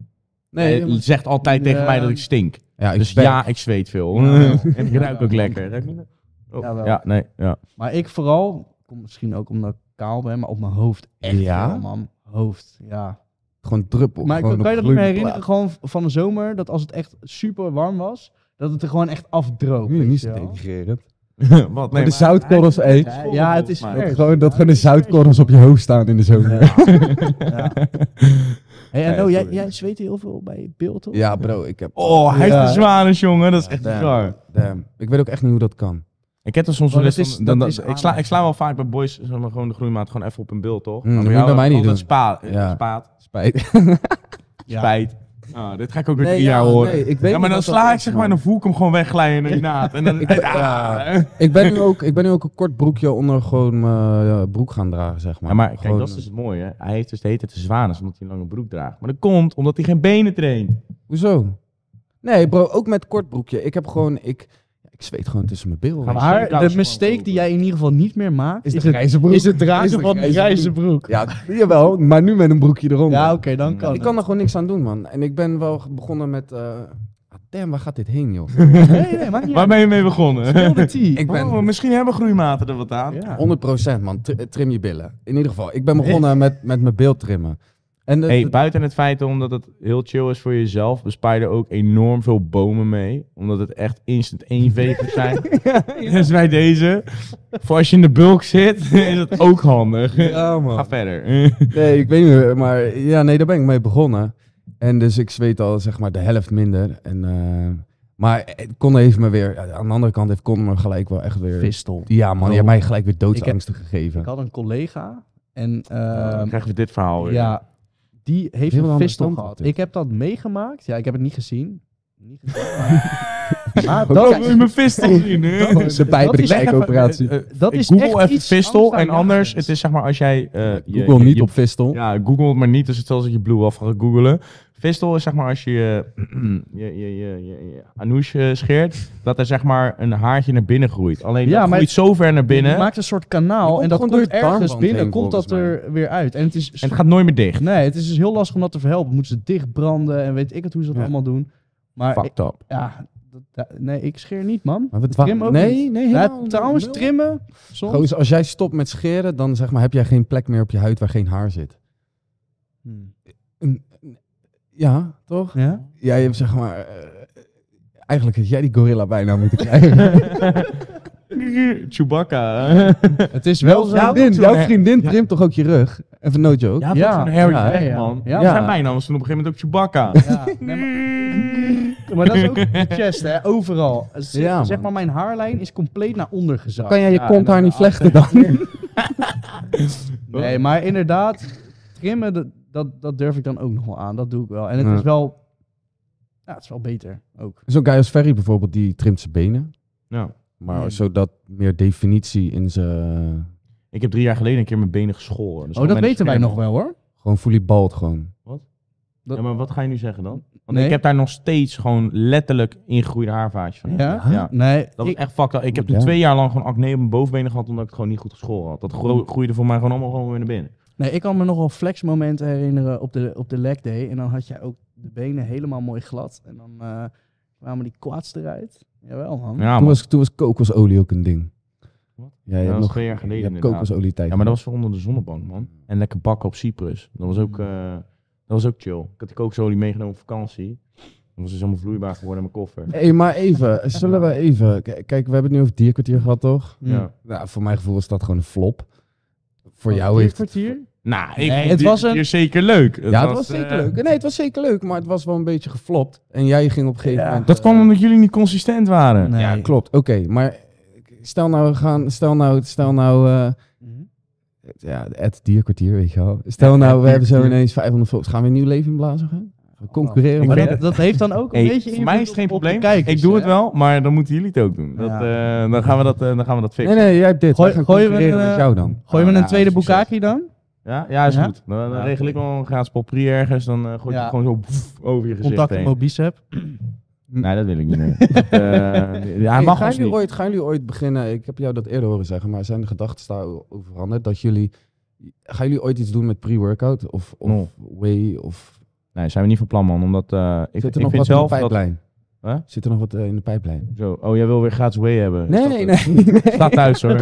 A: Nee,
B: Hij zegt altijd tegen
C: Ja.
B: mij dat ik stink.
A: ja, ik
B: Dus
A: ben-
B: ja, ik zweet veel. <laughs> en ik ruik ook lekker. Ruik je? Oh.
C: Jawel.
B: Ja, nee, ja. <laughs>
C: Maar ik vooral, komt misschien ook omdat ik kaal ben, maar op mijn hoofd echt
A: Ja?
C: veel, man. Hoofd, ja.
A: Gewoon druppel.
C: Maar
A: gewoon
C: kan, kan je
A: op
C: dat niet meer
A: gloeiende
C: herinneren, gewoon v- van de zomer, dat als het echt super warm was, dat het er gewoon echt
A: plaat.
C: afdroop.
A: Nu
C: weet
A: niet
C: je wel.
A: denigrerend.
B: Wat?
A: Maar de zoutkorrels, eh,
C: Ja, ja, het is
B: maar.
C: vers.
A: Gewoon dat
C: Ja,
A: gewoon de
C: het is vers.
A: zoutkorrels op je hoofd staan in de zomer.
C: Ja. Hey, en
B: Ja,
C: nou, jij,
B: sorry.
C: jij zweet heel veel bij beeld, toch?
A: Ja, bro, ik heb.
B: Oh, hij
C: Ja.
B: is de zwanes, jongen. Dat is echt
A: Damn.
B: bizar.
A: Damn. Ik weet ook echt niet hoe dat kan.
B: Ik heb er soms
C: Maar
B: wel eens
C: dat
B: van-
C: is-
B: dan-
C: dat
B: dan-
C: is
B: ik, sla,
C: aan.
B: ik sla wel vaak bij boys zeg maar, gewoon de groeimaat gewoon even op een beeld, toch?
A: Hmm,
B: Maar
A: dat
B: bij
A: moet je bij mij niet
B: altijd
A: doen.
B: Spa, eh,
A: Ja.
B: Spaat,
A: Spijt.
C: Ja.
B: spijt. Ah, dit ga ik ook weer drie jaar horen.
A: ik weet
B: ja, maar dan sla ik zeg maar en dan voel ik hem gewoon
A: <laughs>
B: wegglijden in je naad. En dan,
A: ben-
B: ah.
A: ja. Ik ben, nu ook, ik ben nu ook een kort broekje onder gewoon mijn eh, broek gaan dragen, zeg maar.
B: Ja, maar kijk,
A: gewoon,
B: dat is dus het mooie. hè. Hij heeft dus de hele tijd de zwanes omdat hij een lange broek draagt. Maar dat komt omdat hij geen benen traint.
A: Hoezo? Nee, bro, ook met kort broekje. Ik heb gewoon, ik, ik zweet gewoon tussen mijn billen.
B: Gaan we-
C: Maar
B: Kousen
C: de mistake
B: gewoon
C: die jij in ieder geval niet meer maakt, is, het,
A: grijze broek?
C: is het dragen
A: Is de
C: van de
A: grijze
C: grijze broek.
A: Ja, jawel, maar nu met een broekje eronder.
C: Ja, oké, dan kan
A: ik kan er gewoon niks aan doen, man. En ik ben wel begonnen met... eh ah, damn, waar gaat dit heen, joh? 100%
C: het. Nee, nee, maakt niet
B: Waar <laughs>
C: uit.
B: ben je mee begonnen?
C: Heel de tea.
A: Ik ben-
B: Oh, misschien hebben groeimaten er wat aan.
C: Ja.
A: man, Tr- trim je billen. In ieder geval, ik ben begonnen met, met mijn beeld trimmen. En
C: Eh,
A: dat-
B: Hey,
A: dat-
B: buiten het feit omdat het heel chill is voor jezelf, bespaar je er ook enorm veel bomen mee. Omdat het echt instant
C: <laughs>
B: eenvegers zijn. Dus bij deze, voor als je in de bulk zit, <laughs> is dat ook handig.
A: ja, man.
B: Ga verder.
C: Ehm,
A: Nee, ik weet niet meer. Maar ja, nee, daar ben ik mee begonnen. En dus ik zweet al zeg maar de helft minder. En, eh, maar Con heeft me weer... Aan de andere kant heeft Con me gelijk wel echt weer...
C: Vistel.
A: Ja man, je
B: Oh.
A: hebt mij gelijk weer doodsangsten
C: Ik
A: gegeven.
C: had een collega en
B: Dan
C: ehm,
B: krijgen we dit verhaal weer.
C: ja, die heeft
A: Heel
C: een
A: ander
C: vistel
A: standpunt,
C: gehad.
A: dit.
C: Ik heb dat meegemaakt. Ja, ik heb het niet gezien. Niet gezien maar- maar
B: Oh,
C: dat,
B: wil <laughs> je mijn
C: <laughs>
B: vistel zien nu?
A: Ze bij bij de kijkoperatie.
C: eh, dat is
B: Google
C: echt
B: even
C: iets
B: vistel en
C: angstaanjagends.
B: anders, het is zeg maar als jij... eh, je-
A: Google
B: je-
A: niet
B: je-
A: op Vistel.
B: Ja, google het maar niet, dus het is als ik je blue af gaat googelen. Vistel is zeg maar als je eh, je, <clears throat> je, je, je, je anoush eh, scheert, dat er zeg maar een haartje naar binnen groeit. Alleen
C: Ja,
B: dat
C: maar-
B: groeit zo ver naar
C: Je
B: binnen
C: maakt een soort
A: Je
C: kanaal
A: komt
C: en dat
A: gewoon door
C: komt
A: het
C: ergens
A: darmband
C: binnen,
A: heen,
C: komt dat
A: volgens
C: er weer uit. En het is,
B: en het gaat nooit meer dicht.
C: nee, het is dus heel lastig om dat te verhelpen. Moeten ze dichtbranden en weet ik het hoe ze dat
A: Ja.
C: allemaal doen. Maar ik-
B: Fucked
C: <laughs>
B: up. <laughs>
C: ja, dat- dat- nee, ik scheer niet, man.
A: Maar we
C: Trim
A: dwa-
C: ook
A: nee,
C: niet.
A: nee,
C: Ja,
A: helemaal
C: trouwens,
A: nul.
C: trimmen soms.
A: Gozer, als jij stopt met scheren, dan zeg maar, heb jij geen plek meer op je huid waar geen haar zit.
C: Hmm.
A: Ja, toch?
C: Ja?
A: Jij hebt zeg maar... eh, eigenlijk had jij die gorilla bijna moeten
B: <laughs>
A: krijgen.
B: Chewbacca.
C: Het is wel zo.
A: jouw vriendin, jouw vriendin primt toch ook je rug? Even no joke.
B: Ja,
C: Ja,
B: ja, zo'n Harry
A: ja,
B: Beck,
C: ja.
B: man.
C: Ja.
B: Zijn bijnaam toen op een gegeven moment ook
C: <laughs>
B: Chewbacca.
A: <laughs>
C: Ja, nee, maar, maar dat is ook de chest, hè? Overal. Z-
A: Ja, man.
C: zeg maar, mijn haarlijn is compleet naar onder gezakt.
A: Kan jij je
B: Ja,
A: kont haar niet
B: inderdaad.
A: vlechten dan?
B: <laughs>
C: Nee, maar inderdaad, trimmen, dat, dat, dat durf ik dan ook nog wel aan. Dat doe ik wel. En het
A: Ja.
C: is wel... Ja, het is wel beter ook.
A: Zo'n guy als Ferry bijvoorbeeld, die trimt zijn benen.
B: Nou,
A: Maar
C: Hmm.
A: zodat meer definitie in zijn...
B: ik heb drie jaar geleden een keer mijn benen geschoren. Dus
C: oh,
B: gewoon
C: dat
B: met een
C: weten wij
B: scherm.
C: nog wel, hoor.
A: Gewoon fully bald gewoon.
B: Ja, maar wat ga je nu zeggen dan? Want
C: Nee.
B: ik heb daar nog steeds gewoon letterlijk ingegroeide haarvaatjes van.
C: Ja?
B: Ja.
C: Nee,
B: Dat was
C: ik,
B: echt fucked up. Ik heb toen
A: Ja.
B: twee jaar lang gewoon acne op mijn bovenbenen gehad omdat ik het gewoon niet goed geschoren had. Dat gro- groeide voor mij gewoon allemaal gewoon weer naar binnen.
C: nee, ik kan me nog wel flexmomenten herinneren op de, op de leg day. En dan had jij ook de benen helemaal mooi glad. En dan eh, kwamen die kwaads eruit. Jawel, man.
B: Ja,
A: Toen
B: man.
A: was, toen was kokosolie ook een ding.
B: Wat?
A: Ja, je
B: dat
A: hebt
B: was
A: nog,
B: twee jaar
A: je
B: geleden
A: hebt
B: inderdaad.
A: kokosolie tijd.
B: Ja, maar dat was voor onder de zonnebank, man. En lekker bakken op Cyprus. Dat was
A: Mm.
B: ook, eh, dat was ook chill. Ik had die kokosolie meegenomen op vakantie. Dan was dus helemaal vloeibaar geworden in mijn koffer.
C: Mm.
A: Hey, maar even, zullen we even... k- Kijk, we hebben het nu over dierkwartier gehad, toch?
C: Hm.
B: Ja.
A: Nou, voor mijn gevoel is dat gewoon een flop. Voor jou
C: Drie
A: heeft...
C: kwartier?
B: Nou, ik
C: Nee,
B: vond
C: het
B: die
C: was een-
B: keer zeker leuk.
A: Ja, het was zeker
B: eh,
A: leuk. Nee, het was zeker leuk, maar het was wel een beetje geflopt. En jij ging op een gegeven
C: Ja.
A: moment...
B: Dat kwam omdat jullie niet consistent waren.
C: Nee.
A: Ja, klopt. Oké, maar stel nou, we gaan, stel nou, stel nou, eh,
C: Mhm.
A: ja, het dierkwartier, weet je wel. Stel nou, we hebben zo ineens 500 volgers. Gaan we een nieuw leven inblazen? Gaan we concurreren? met
B: Ik
C: Maar
B: weet
A: dat?
C: dat, dat heeft dan ook een
B: Hey,
C: beetje
B: voor mij is het geen
C: invloed op de
B: probleem.
C: kijkers,
B: ik doe het
C: hè?
B: wel, maar dan moeten jullie het ook doen. Dat, eh, dan, gaan we dat, eh, dan gaan we dat fixen.
A: Nee, nee, jij hebt dit.
C: Gooi-
A: Gooi, gaan
C: gooien we
A: concurreren
C: een,
A: met
C: eh,
A: jou dan.
C: Gooi me
B: Ah,
C: een
B: ja,
C: tweede
B: succes.
C: boekaki dan?
B: Ja, ja is
C: Ja?
B: goed. Dan, dan
A: Ja,
B: regel ik wel een gratis poprie ergens. Dan eh, gooi je
C: Ja.
B: het gewoon zo pff, over je gezicht
C: Contact met
B: heen.
C: mijn bicep.
B: Nee, dat wil ik niet
A: <laughs>
B: meer. Dat, eh, ja, hij
A: Hey,
B: mag
A: gaan,
B: ons
A: jullie
B: niet.
A: ooit, gaan jullie ooit beginnen? Ik heb jou dat eerder horen zeggen, maar zijn de gedachten daarover veranderd? Dat jullie. Gaan jullie ooit iets doen met pre-workout? Of, of
B: No.
A: way? Of,
B: Nee, zijn we niet van plan, man. Omdat eh, ik,
A: zit er nog
B: ik vind
A: wat in de
B: zelf dat...
A: pijplijn?
B: Huh?
A: Zit er nog wat eh, in de pijplijn?
B: Zo, oh, jij wil weer gratis way hebben. Is
A: Nee,
B: dat
A: nee,
B: het?
A: <laughs> nee.
B: Staat thuis, hoor.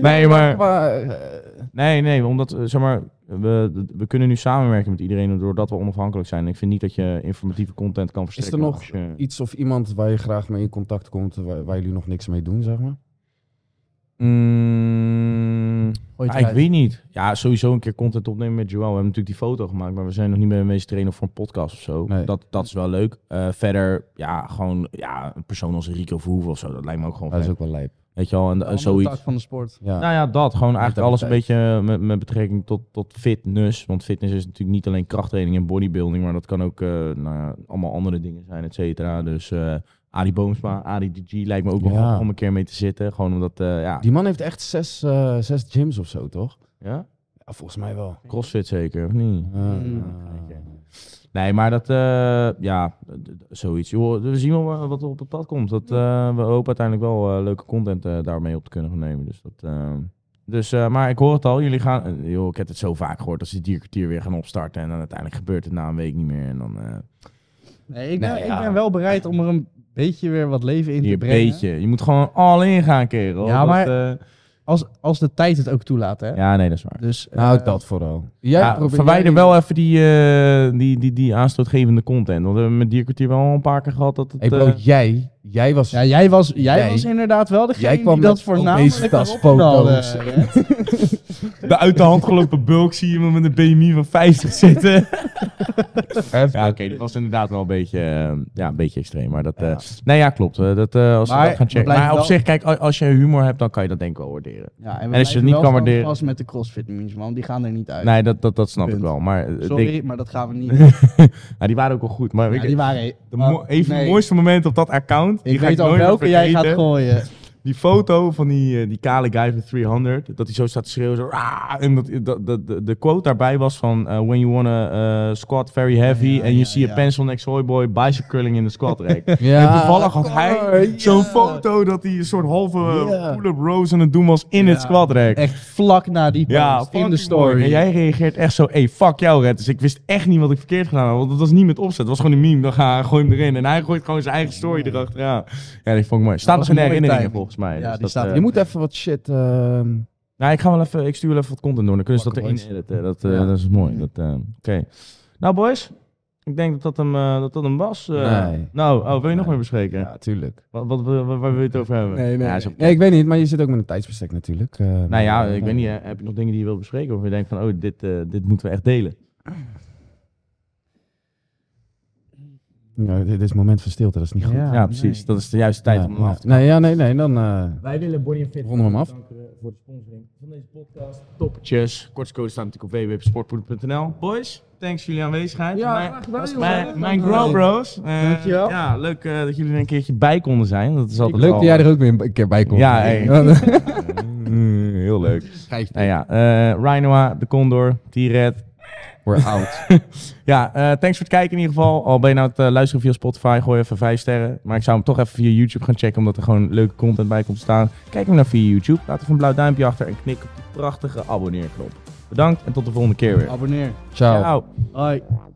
B: nee, maar...
A: Qua, eh,
B: Nee, nee, omdat eh, zeg maar, we, we kunnen nu samenwerken met iedereen doordat we onafhankelijk zijn. Ik vind niet dat je informatieve content kan verstrekken.
A: nog-
B: als je-
A: iets of iemand waar je graag mee in contact komt, waar, waar jullie nog niks mee doen, zeg maar?
B: Mm,
C: Gooi het
B: ah, ik
C: eruit.
B: weet niet. Ja, sowieso een keer content opnemen met Joel. We hebben natuurlijk die foto gemaakt, maar we zijn nog niet bij meest trainen voor een podcast of zo.
A: Nee.
B: Dat, dat is wel leuk. Eh, verder, ja, gewoon ja, een persoon als Rico Verhoeven of zo. Dat lijkt me ook gewoon
A: Dat is
B: fijn.
A: ook wel lijp.
B: Weet je wel, en,
C: Andere
B: en zoiets.
C: tak van de sport.
A: Ja.
B: Nou ja, dat. Gewoon eigenlijk alles een
A: Mentaliteit.
B: beetje eh, met, met betrekking tot, tot fitness. Want fitness is natuurlijk niet alleen krachttraining en bodybuilding, maar dat kan ook eh, nou ja, allemaal andere dingen zijn, et cetera. Dus eh Adi Boomsma, Adi DG lijkt me ook wel
A: Ja.
B: grappig om een keer mee te zitten. Gewoon omdat, eh, ja.
A: Die man heeft echt zes, eh, zes gyms of zo, toch?
B: ja,
A: Ja, volgens mij wel.
B: crossfit zeker, of niet?
A: Eh,
C: Mm.
A: eh,
B: Nee, maar dat, eh, ja, d- d- zoiets. Joh, we zien wel wa- wat er op het pad komt. Dat, eh, we hopen uiteindelijk wel eh, leuke content eh, daarmee op te kunnen gaan nemen. Dus dat, eh, dus, eh, maar ik hoor het al, jullie gaan, eh, joh, ik heb het zo vaak gehoord dat ze het dierkwartier weer gaan opstarten. En dan uiteindelijk gebeurt het na een week niet meer. En dan eh
C: Nee, ik ben,
A: Nou
C: ik
A: ja.
C: ben wel bereid om er een beetje weer wat leven in
B: hier
C: te
B: een
C: brengen.
B: beetje. Je moet gewoon all in gaan, kerel.
C: Ja,
B: Dat,
C: maar-
B: eh,
C: Als, als de tijd het ook toelaat, hè?
B: Ja, nee, dat is waar.
C: Dus,
A: Nou,
C: eh,
A: dat vooral. Jij
B: ja,
A: probeert-
B: verwijder
A: jij-
B: wel even die, eh, die, die, die aanstootgevende content. Want we hebben met Dierkwartier wel een paar keer gehad dat het...
A: Hey bro,
B: eh,
A: jij, jij was...
C: Ja, jij was, jij
A: Jij-
C: was inderdaad wel degene
A: jij kwam
C: die dat
A: met
C: voornamelijk
A: obese tas
C: opknalde,
A: foto's.
C: hè?
B: de uit de hand gelopen bulk zie je me met een BMI van 50 zitten. Ja, oké, dat was inderdaad wel een beetje, eh, ja, een beetje extreem. Maar dat, eh nee, ja, klopt. Eh, dat, eh, als
C: Maar
B: we dat gaan
C: we
B: checken.
C: blijven
B: Maar op
C: wel-
B: zich, kijk, a- als je humor hebt, dan kan je dat denk ik wel waarderen.
C: Ja, en, we
B: je het
C: blijven
B: niet
C: wel
B: kan
C: gewoon
B: waarderen-
C: vast met de crossfit memes, man. Die gaan er niet uit.
B: Nee, dat, dat, dat snap
C: Punt.
B: ik wel. Maar eh,
C: Sorry,
B: ik-
C: maar dat gaan we
B: <laughs>
C: niet. Ja,
B: nou, die waren ook wel goed. Maar ik-
C: die waren...
B: de mo-
C: maar-
B: even
C: nee.
B: het mooiste moment op dat account. Die
C: Ik
B: ga
C: weet
B: ik
C: al
B: nooit meer
C: welke jij gaat
B: vergeten.
C: gooien.
B: Die foto van die, eh, die kale guy van 300, dat hij zo staat te schreeuwen. Zo, "Ah!" en dat, dat, dat- de, de quote daarbij was van... eh, When you wanna eh, squat very heavy
C: Ja,
B: and you
C: ja,
B: see
C: ja.
B: a pencil next soy boy bicycle curling in the
C: <laughs>
B: squat rack.
A: Ja,
B: en toevallig had hij
A: Cor,
B: zo'n
A: ja.
B: foto dat hij een soort halve
A: Ja.
B: eh, pull-up rows aan het doen was in
C: Ja.
B: het squat rack.
C: Echt vlak na die
B: Ja,
C: post in de
B: fucking mooi.
C: story.
B: En jij reageert echt zo, hey, fuck jou, Red. Dus ik wist echt niet wat ik verkeerd gedaan had. Want dat was niet met opzet. Dat was gewoon een meme. Dan ga, gooi hem erin. En hij gooit gewoon zijn eigen story erachteraan. Ja, die vond ik mooi. Staat
C: Dat
B: nog in
C: was
B: de
C: een mooie
B: herinneringen
C: timing.
B: volgens mij.
C: Ja,
B: Dus
C: die
B: dat,
C: staat-
B: eh,
A: Je moet even wat shit... ehm,
B: nou, ik ga wel even, ik stuur wel even wat content door. Dan kunnen ze dat
A: Pakken
B: erin
A: boys.
B: editen. Dat, eh,
A: Ja.
B: dat is mooi. Dat, eh, Oké. Nou, boys. Ik denk dat dat hem, eh, dat dat hem was. eh.
A: Nee.
B: Nou, oh, wil je nog
A: Nee.
B: meer bespreken?
A: ja, tuurlijk.
B: Wat, wat, wat- waar wil je het over hebben?
C: Nee, nee,
B: Ja,
C: nee.
B: is ook-
A: Nee, ik weet niet, maar je zit ook met een tijdsbestek natuurlijk. eh,
B: Nou
A: maar,
B: ja,
A: eh,
B: ik weet niet. hè, Heb je nog dingen die je wilt bespreken? Of je denkt van, oh, dit, eh, dit moeten we echt delen?
A: Ja, dit dit is een moment van stilte, dat is niet goed.
B: Ja, precies. Dat is de juiste tijd
A: Ja,
B: om hem
A: ja.
B: af te
A: Nee, ja, nee, nee, dan... eh,
B: Wij willen Body Fit
A: Ronden we hem af.
B: bedanken eh, voor de sponsoring van deze podcast. Toppertjes. Kortscode staat natuurlijk op www.sportpoeder.nl. Boys, thanks voor jullie aanwezigheid.
C: Ja,
B: mijn,
C: graag gedaan, joh.
B: mijn, mijn
C: Dankjewel.
B: Grow Bros. Eh,
C: Dankjewel.
B: Ja, leuk eh, dat jullie er een keertje bij konden zijn. Dat is altijd
A: Leuk
B: wel,
A: dat jij er ook weer een keer bij komt.
B: Ja, hey. <laughs>
A: Ja, <laughs>
B: Mm, heel leuk.
A: Schijf.
B: Nou ja, eh Rhinoa, de Condor, T-Red.
A: We're out.
B: Ja, eh, thanks voor het kijken in ieder geval. Al ben je nou het eh, luisteren via Spotify, gooi even vijf sterren. Maar ik zou hem toch even via YouTube gaan checken, omdat er gewoon leuke content bij komt staan. Kijk hem naar via YouTube. Laat even een blauw duimpje achter en knik op die prachtige abonneerknop. Bedankt en tot de volgende keer weer.
C: Abonneer.
A: Ciao.
B: Ciao.
C: Hoi.